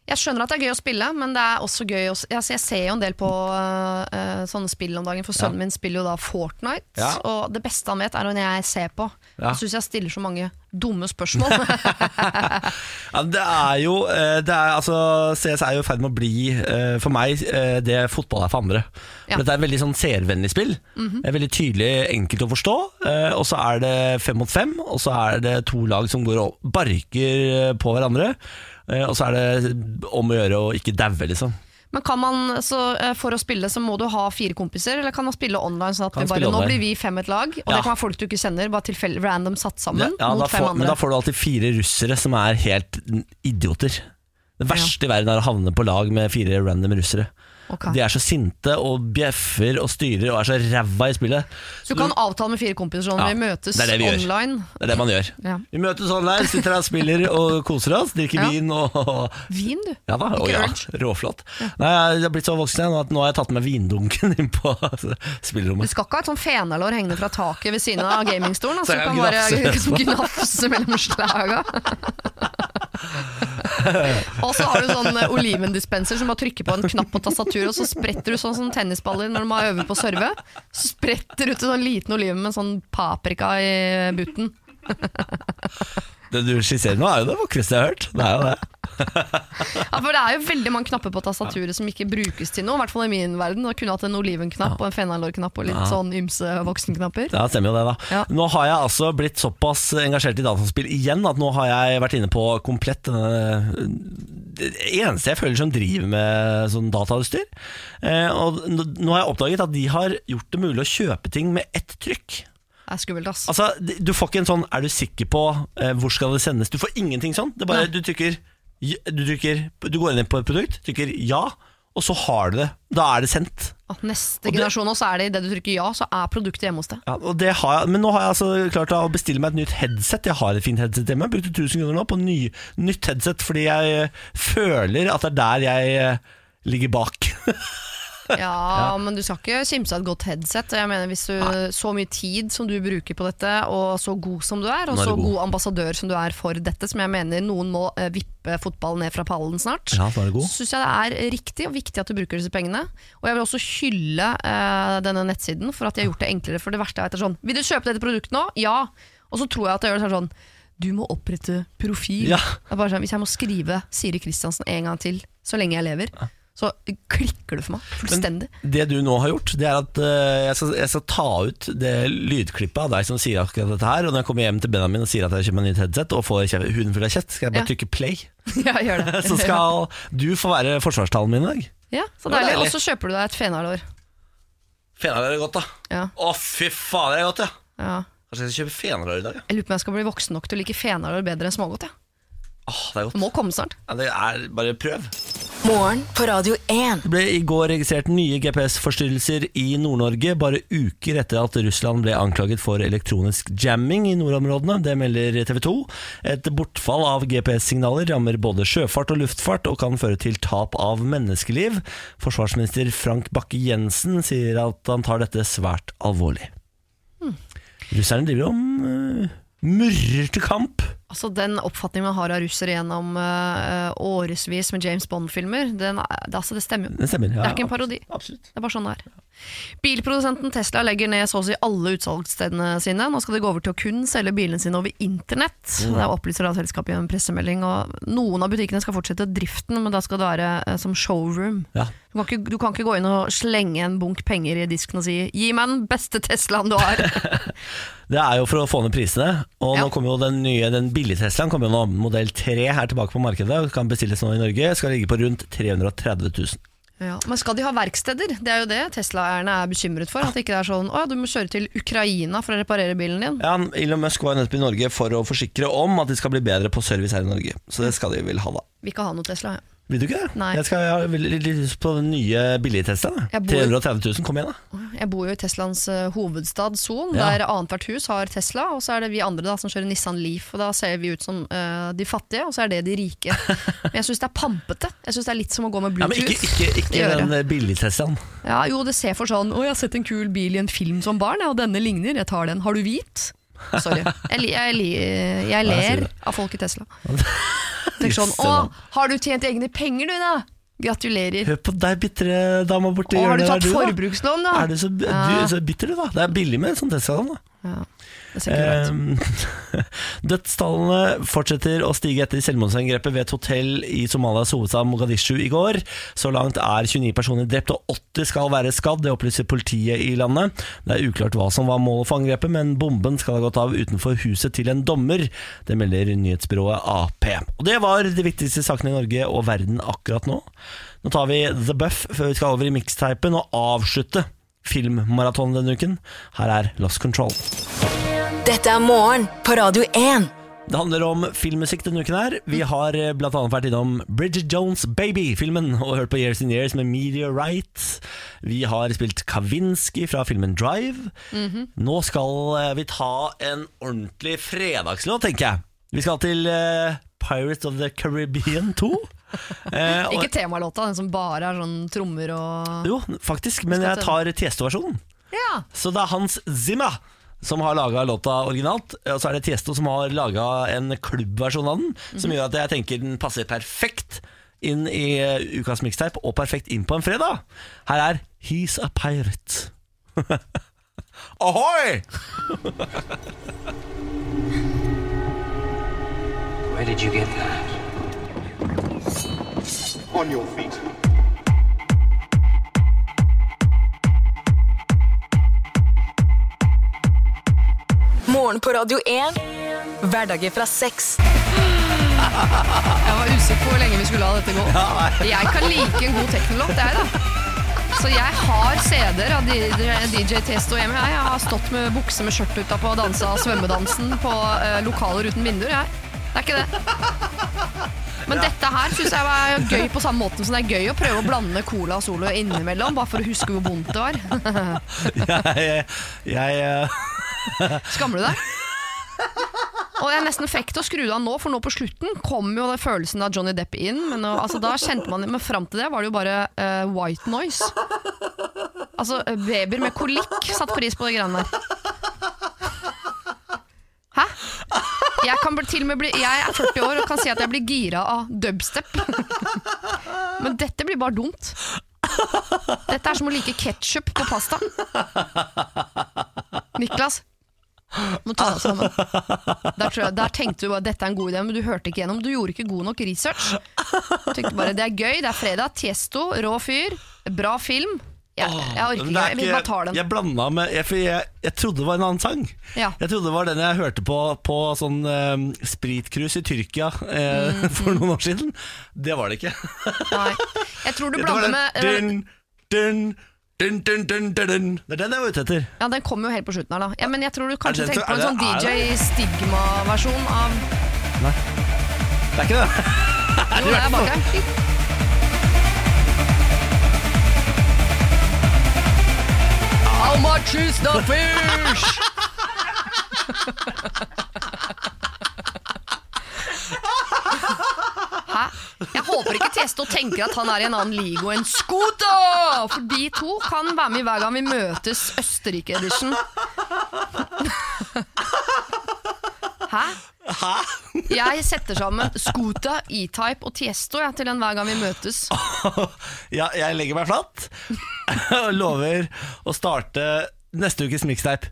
S2: Jeg skjønner at det er gøy å spille, men det er også gøy å, altså jeg ser jo en del på øh, øh, sånne spill om dagen, for sønnen min spiller jo da Fortnite.
S1: Ja.
S2: Og det beste han vet, er når jeg ser på.
S1: Ja.
S2: Jeg syns jeg stiller så mange dumme spørsmål.
S1: <laughs> Ja, det er jo eh, det er, altså, CS er jo i ferd med å bli, eh, for meg, eh, det fotball er for andre.
S2: Ja. Mhm.
S1: For Dette er et veldig sånn seervennlig spill. Det er veldig tydelig, enkelt å forstå. eh, Og så er det fem mot fem, og så er det to lag som går og barker eh, på hverandre. eh, Og så er det om å gjøre å ikke daue, liksom.
S2: men kan man, så, øh, for å spille så må du ha fire kompiser, eller kan man spille online? Sånn at
S1: Kan
S2: vi bare,
S1: spille
S2: nå
S1: online.
S2: blir vi fem et lag, og
S1: Ja.
S2: det kan være folk du ikke kjenner, bare tilfeldig random satt sammen
S1: Ja, da
S2: Mhm, mot fem
S1: får, men
S2: andre.
S1: da får du alltid fire russere som er helt idioter. Det verste i verden er å havne på lag med fire random russere.
S2: Ok.
S1: De er så sinte og bjeffer og styrer og er så ræva i spillet.
S2: Så du kan avtale med fire kompiser sånn,
S1: Ja,
S2: vi møtes
S1: det er det vi gjør.
S2: online.
S1: Det er det man gjør.
S2: Ja.
S1: Vi møtes online, sitter her og spiller og koser oss, drikker
S2: Ja.
S1: vin og
S2: Vin, du.
S1: Ja da, og
S2: Ikke
S1: ja,
S2: øl.
S1: råflott. Nei, jeg har blitt så voksen igjen at nå har jeg tatt med vindunken inn på <laughs>
S2: Du
S1: spillerommet.
S2: skal ikke ha et sånn fenalår hengende fra taket ved siden av gamingstolen. Altså,
S1: Så
S2: du
S1: jeg
S2: kan bare <laughs>
S1: gnafser
S2: gnafse mellom
S1: <laughs>
S2: slaga. og så har du sånn eh, olivendispenser som bare trykker på en knapp på tastaturet, og så spretter du sånn som tennisballer når man øver på å serve. Så spretter du til sånn liten oliven med en sånn paprika i butten.
S1: Det du skisserer nå er jo det vakreste jeg har hørt. Det er jo det.
S2: Ja, for det er jo veldig mange knapper på tastaturet som ikke brukes til noe, i hvert fall i min verden. Og kunne hatt en olivenknapp og en fenalårknapp og litt sånn ymse voksenknapper.
S1: Ja, det stemmer jo det da
S2: Ja.
S1: Nå har jeg altså blitt såpass engasjert i dataspill igjen At nå har jeg vært inne på komplett denne det eneste jeg føler som driver med sånn datautstyr. Eh, og n- nå har jeg oppdaget at de har gjort det mulig å kjøpe ting med ett trykk.
S2: Det er skummelt, ass.
S1: Altså, d- Du får ikke en sånn 'er du sikker på eh, hvor skal det sendes'? Du får ingenting sånn. Det er bare du trykker, j- du trykker Du går inn på et produkt, trykker 'ja', og så har du det. Da er det sendt.
S2: At neste generasjon også er det idet du trykker ja, så er produktet hjemme hos deg.
S1: Ja, og det har jeg, men nå har jeg altså klart å bestille meg et nytt headset. Jeg har et fint headset hjemme. Jeg brukte 1000 kroner nå på ny, nytt headset fordi jeg eh, føler at det er der jeg eh, ligger bak.
S2: Ja, men du skal ikke kimse av et godt headset. Jeg mener, hvis du, Så mye tid som du bruker på dette, og så god som du er, og
S1: Nå er du
S2: så
S1: god.
S2: god ambassadør som du er for dette, som jeg mener noen må eh, vippe fotballen ned fra pallen snart,
S1: Ja, nå er du god.
S2: så syns jeg det er riktig og viktig at du bruker disse pengene. Og jeg vil også hylle eh, denne nettsiden for at de har gjort det enklere. For det verste jeg vet er sånn Vil du kjøpe dette produktet nå? Ja. Og så tror jeg at jeg gjør det sånn Du må opprette profil.
S1: Ja.
S2: Det er bare sånn, hvis jeg må skrive Siri Kristiansen en gang til så lenge jeg lever, så klikker det for meg fullstendig.
S1: Det du nå har gjort, det er at eh, jeg skal, jeg skal ta ut det lydklippet av deg som sier akkurat dette her. Og når jeg kommer hjem til Benjamin og sier at jeg kjøper meg nytt headset og får kjeve- huden full av kjeft, skal jeg bare
S2: Ja.
S1: trykke play. <laughs>
S2: <laughs> ja, gjør det.
S1: Så skal du få være forsvarstalen min i dag.
S2: Ja,
S1: Det
S2: så
S1: var
S2: deilig.
S1: deilig.
S2: Og så kjøper du deg et fenalår.
S1: Fenalår er godt, da.
S2: Ja,
S1: Å, fy faen, det er godt, ja.
S2: ja.
S1: Kanskje jeg skal kjøpe fenalår i dag, ja.
S2: Jeg lurer på om jeg skal bli voksen nok til å like fenalår bedre enn smågodt. Ja.
S1: Åh, det er
S2: Det
S1: godt.
S2: må komme snart.
S1: Ja, det er bare prøv.
S3: Morgen på Radio 1.
S1: Det ble i går registrert nye GPS-forstyrrelser i Nord-Norge, bare uker etter at Russland ble anklaget for elektronisk jamming i nordområdene. Det melder TV 2. Et bortfall av GPS-signaler rammer både sjøfart og luftfart, og kan føre til tap av menneskeliv. Forsvarsminister Frank Bakke-Jensen sier at han tar dette svært alvorlig.
S2: Hmm.
S1: Russerne driver om uh, murrer til kamp.
S2: Altså Den oppfatningen man har av russere gjennom eh, årevis med James Bond-filmer, den er- det, altså, det stemmer jo.
S1: Det stemmer.
S2: Det er ikke en parodi.
S1: Absolutt.
S2: Det er bare sånn det er. Bilprodusenten Tesla legger ned så å si alle utsalgsstedene sine. Nå skal de gå over til å kun selge bilene sine over internett. Det opplyser da selskapet i en pressemelding. Og noen av butikkene skal fortsette driften, men da skal det være eh, som showroom.
S1: Ja.
S2: Du kan, ikke, du kan ikke gå inn og slenge en bunk penger i disken og si 'gi meg den beste Teslaen du har'.
S1: <laughs> Det er jo for å få ned prisene. Og
S2: Ja.
S1: nå kommer jo den nye, den billige Teslaen, kommer jo nå, modell 3 her tilbake på markedet. og Kan bestilles nå i Norge. Skal ligge på rundt 330 000.
S2: ja. Men skal de ha verksteder? Det er jo det Tesla-eierne er bekymret for. At det ikke er sånn 'å ja, du må kjøre til Ukraina for å reparere bilen din'.
S1: Ja, Elon Musk var jo nettopp i Norge for å forsikre om at de skal bli bedre på service her i Norge. Så det skal de vel ha, da.
S2: Vil ikke ha noe Tesla. Ja.
S1: Vil du ikke det?
S2: Nei.
S1: Jeg, skal, jeg har veldig litt lyst på den nye billige Teslaen. da.
S2: Jeg bor-
S1: 330 000, kom igjen, da.
S2: Jeg bor jo i Teslas eh, hovedstad Son,
S1: Ja.
S2: der annethvert hus har Tesla, og så er det vi andre da som kjører Nissan Leaf. Og da ser vi ut som eh, de fattige, og så er det de
S1: <laughs>
S2: rike. Men jeg syns det er pampete. Jeg synes Det er litt som å gå med
S1: Ja, men
S2: Bluetooth.
S1: ikke, ikke,
S2: i
S1: ikke
S2: øret.
S1: den billige Teslaen.
S2: Ja, jo, det ser for sånn Å, jeg har sett en kul bil i en film som barn, ja, og denne ligner. Jeg tar den. Har du hvit? Sorry. Jeg, li- jeg, li-
S1: Nei,
S2: jeg
S1: jeg sier
S2: ler
S1: det.
S2: av folk i
S1: <laughs>
S2: Tesla. Tenk sånn
S1: Jøsse
S2: Å,
S1: navn.
S2: har du tjent egne penger, du, da? Gratulerer.
S1: Hør på deg, bitre dama borti
S2: Å, har du
S1: hjørnet.
S2: tatt
S1: der, da?
S2: forbrukslån, da?
S1: Er du så, du
S2: Ja.
S1: er så bitter, du, da? Det er billig med en sånn Tesla. da
S2: Ja, det ser kult ut.
S1: Eh, <laughs> Dødstallene fortsetter å stige etter selvmordsangrepet ved et hotell i Somalias hovedstad Mogadishu i går. Så langt er 29 personer drept og 80 skal være skadd, det opplyser politiet i landet. Det er uklart hva som var målet for angrepet, men bomben skal ha gått av utenfor huset til en dommer. Det melder nyhetsbyrået AP. Og det var de viktigste sakene i Norge og verden akkurat nå. Nå tar vi The Buff før vi skal over i mixtapen og avslutte filmmaratonen denne uken. Her er Lost Control.
S3: Dette er morgen på Radio 1.
S1: Det handler om filmmusikk denne uken her. Vi har eh, blant annet vært innom Bridget Jones' Baby-filmen og hørt på Years in Years med Meteorite. Vi har spilt Kavinsky fra filmen Drive. Nå skal eh, vi ta en ordentlig fredagslåt, tenker jeg. Vi skal til eh, Pirates of the Caribbean 2. Eh, og-
S2: Ikke temalåta, den som bare er sånn trommer og
S1: jo, faktisk, men jeg tar Tiesto-versjonen.
S2: Ja!
S1: Så det er Hans Zimmer som har laga låta originalt, og så er det Tiesto som har laga en klubbversjon av den, som
S2: Mhm.
S1: gjør at jeg tenker den passer perfekt inn i eh, ukas mixtape, og perfekt inn på en fredag. Her er He's a Pirate. <laughs> Ahoy!
S7: Where did you get that?
S8: On your feet.
S3: Morgen på Radio 1. Hverdager fra seks.
S2: Jeg var usikker på hvor lenge vi skulle la dette gå. Jeg kan like en god teknolåt, jeg, da. Så jeg har CD-er av D- DJ Testo hjemme. Jeg Jeg har stått med bukse med skjørt utapå og dansa svømmedansen på eh, lokaler uten vinduer, jeg. Det er ikke det. Men dette her syns jeg var gøy på samme måten som det er gøy å prøve å blande cola og solo innimellom, bare for å huske hvor vondt det var.
S1: Jeg, jeg eh,
S2: Skammer du deg? <laughs> Og jeg nesten fikk til å skru det av nå, for nå på slutten kom jo den følelsen av Johnny Depp inn. Men, nå, altså, da kjente man, men fram til det var det jo bare eh, white noise. Altså, eh, babyer med kolikk satt pris på de greiene der. Hæ? Jeg, kan bli, til og med bli, jeg er 40 år og kan si at jeg blir gira av dubstep. <laughs> Men dette blir bare dumt. Dette er som å like ketsjup på pasta. Niklas, må ta deg sammen. Der, tror jeg, der tenkte du bare dette er en god idé, men du hørte ikke gjennom. Du gjorde ikke god nok research. Du tenkte bare det er gøy, det er fredag. Tiesto, rå fyr, bra film. Jeg, jeg
S1: men
S2: orker ikke,
S1: det er
S2: jeg vil bare ta den.
S1: Jeg blanda med jeg, for jeg, jeg trodde det var en annen sang.
S2: Ja.
S1: Jeg trodde det var den jeg hørte på på sånn um, spritcruise i Tyrkia eh, <laughs>
S2: Mhm.
S1: for noen år siden. Det var det ikke.
S2: Nei. Jeg tror du
S1: Det var den
S2: blander med eh,
S1: dun, dun, dun, dun, dun, dun, dun. Det er den jeg var ute etter.
S2: Ja, den kom jo helt på slutten her, da. Ja, men jeg tror du kanskje
S1: Er det-
S2: tenker på
S1: er
S2: en sånn
S1: det- er
S2: DJ Stigma-versjon av
S1: Det er ikke det. <laughs>
S2: Jo, det er bak her. How much is the fish? Hæ? Jeg håper ikke Tiesto tenker at han er i en annen liga enn Scooto! For de to kan være med hver gang vi møtes Østerrike-edition. Hæ? Jeg setter sammen Scooter, E-Type og Tiesto jeg, til en hver gang vi møtes.
S1: Ja, jeg legger meg flatt <laughs> og lover å starte neste ukes mixtape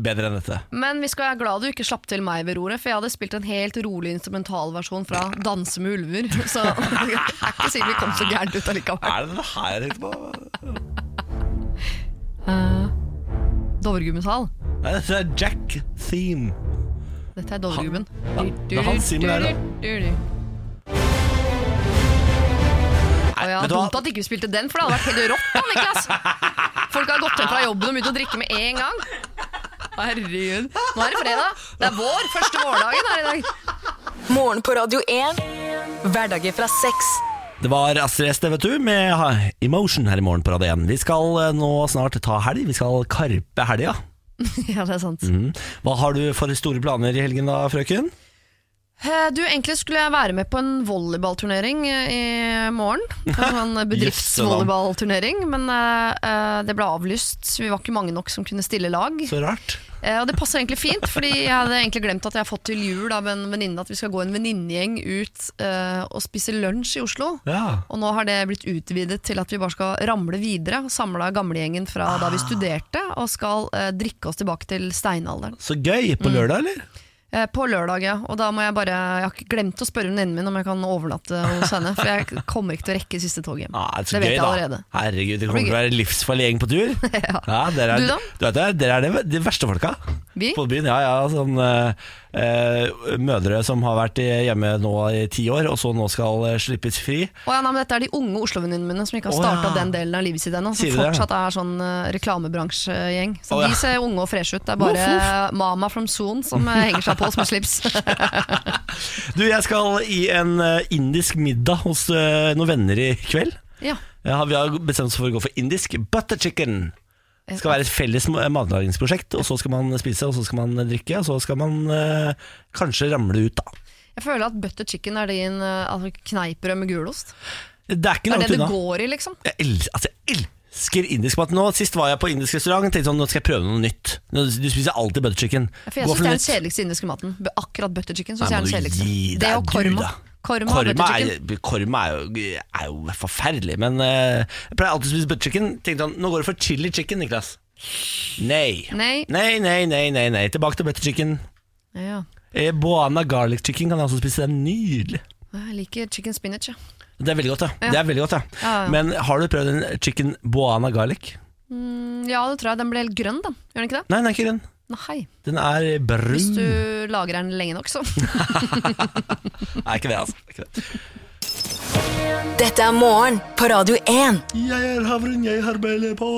S1: bedre enn dette.
S2: Men vi skal være glad du ikke slapp til meg ved roret, for jeg hadde spilt en helt rolig instrumentalversjon fra 'Danse med ulver'. Så <laughs> jeg er ikke sikkert vi kom så gærent ut allikevel.
S1: Er det det her jeg tenkte på?
S2: Dovregubbens hall.
S1: Nei, dette er Jack Theme.
S2: Dette er Dovregubben.
S1: det er han Simen her, da.
S2: Og ja,
S1: vet du hva?
S2: Dumt at ikke vi spilte den, for det hadde vært helt rått. da, Niklas Folk har gått hjem fra jobben og begynt å drikke med en gang. Herregud. Nå er det fredag. Det er vår. Første vårdagen her i dag.
S3: Morgen på Radio 1. Hverdager fra seks.
S1: Det var Astrid S, det vet du, med ha- Emotion her i morgen på Radio 1. Vi skal eh, nå snart ta helg. Vi skal karpe helga.
S2: Ja, det er sant.
S1: Mm. Hva har du for store planer i helgen da, frøken?
S2: Eh, Du, Egentlig skulle jeg være med på en volleyballturnering eh, i morgen. En sånn bedriftsvolleyballturnering, men eh, eh, det ble avlyst. Vi var ikke mange nok som kunne stille lag.
S1: Så rart.
S2: Eh, Og det passer egentlig fint, fordi jeg hadde egentlig glemt at jeg har fått til jul av en venninne at vi skal gå en venninnegjeng ut eh, og spise lunsj i Oslo.
S1: Ja.
S2: Og nå har det blitt utvidet til at vi bare skal ramle videre. Samla gamlegjengen fra da vi studerte, og skal eh, drikke oss tilbake til steinalderen.
S1: Så gøy. På lørdag, eller?
S2: Eh, På lørdag, ja. Og da må jeg bare Jeg har ikke glemt å spørre venninnen min om jeg kan overnatte hos henne. For jeg kommer ikke til å rekke siste tog hjem.
S1: Ah,
S2: det vet jeg allerede.
S1: Herregud, det kommer
S2: blir
S1: til å være en livsfarlig gjeng på
S2: <laughs>
S1: tur. ja. dere er,
S2: Du da?
S1: Du vet, det, dere er de, de verste folka
S2: Vi?
S1: på byen. Ja, ja, sånn eh, eh, Mødre som har vært i- hjemme nå i ti år, og så nå skal eh, slippes fri.
S2: Å ja, nei, men dette er de unge Oslo-venninnene mine som ikke har
S1: Å, ja.
S2: starta den delen av livet sitt ennå. Som
S1: Sier du det?
S2: fortsatt er sånn eh, reklamebransjegjeng. Så
S1: Å, ja.
S2: de ser unge og freshe ut. Det er
S1: Voff,
S2: bare Mama from Son som eh, henger seg på oss
S1: <laughs>
S2: med slips.
S1: Du, jeg skal i en eh, indisk middag hos eh, noen venner i kveld.
S2: ja.
S1: Ja, vi har bestemt oss for å gå for indisk butter chicken. Det skal være et felles ma- matlagingsprosjekt, og så skal man spise, og så skal man drikke, og så skal man eh, kanskje ramle ut, da.
S2: Jeg føler at butter chicken er din eh, altså kneippbrød med gulost.
S1: Det er ikke
S2: Det er
S1: langt
S2: det du
S1: unna.
S2: går i, liksom.
S1: Jeg, el altså, jeg elsker indisk mat. Nå, sist var jeg på indisk restaurant og tenkte sånn, nå skal jeg prøve noe nytt. Nå, du spiser alltid butter chicken.
S2: For jeg
S1: Gå
S2: syns det er den
S1: noe nytt.
S2: kjedeligste indiske maten. B- Akkurat butter chicken
S1: Nei,
S2: syns jeg er den
S1: må du
S2: kjedeligste.
S1: gi
S2: Det
S1: deg,
S2: og
S1: du,
S2: korma.
S1: da.
S2: Korma, og
S1: Korma,
S2: butter chicken.
S1: er, korma er, jo, er jo forferdelig, men eh, jeg pleier alltid å spise butter chicken. Tenkte han, nå går det for chili chicken, Niklas. Nei.
S2: Nei.
S1: Nei, nei, nei, nei, nei. Tilbake til butter chicken.
S2: Ja,
S1: Eh, Boana garlic chicken kan jeg også spise. Det er nydelig.
S2: jeg liker chicken spinach. Ja.
S1: Det er veldig godt, ja.
S2: Ja.
S1: Det er veldig godt, ja.
S2: Ja, ja.
S1: Men har du prøvd en chicken boana garlic?
S2: Mm, ja, det tror jeg. Den ble helt grønn, den. Gjør den ikke det?
S1: Nei, den er ikke grønn.
S2: Nei.
S1: Den er brun.
S2: Hvis du lagrer den lenge <laughs> nok, så.
S1: Nei, ikke det, altså. Ikke det.
S3: Dette er morgen på Radio 1.
S1: Jeg er havren, jeg har beller på.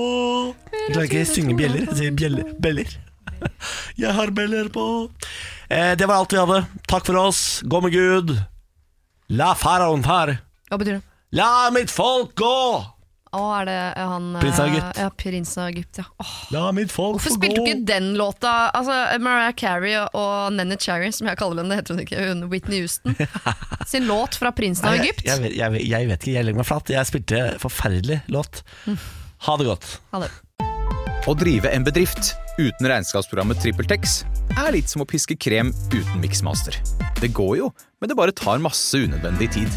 S1: Jeg klarer ikke å synge bjeller. Jeg sier bjeller. Beller. <laughs> Jeg har beller på. Eh, det var alt vi hadde. Takk for oss. Gå med Gud. La faraoen far.
S2: Hva betyr det?
S1: La mitt folk gå!
S2: Å, er det er han eh,
S1: Prins av Egypt.
S2: Ja, prins av Egypt, ja. Åh,
S1: La mitt folk
S2: hvorfor
S1: få
S2: spilte du
S1: gå.
S2: ikke den låta? Altså, Mariah Carey og Nene Cherry, som jeg kaller henne, det heter hun ikke, hun Whitney Houston, <laughs> sin låt fra prinsen av
S1: Nei,
S2: Egypt.
S1: Jeg, jeg, vet- jeg, vet- jeg vet ikke, jeg legger meg flatt. Jeg spilte forferdelig låt.
S2: Mm.
S1: Ha det godt.
S2: Ha det.
S8: Å drive en bedrift uten regnskapsprogrammet TrippelTex er litt som å piske krem uten miksmaster. Det går jo, men det bare tar masse unødvendig tid.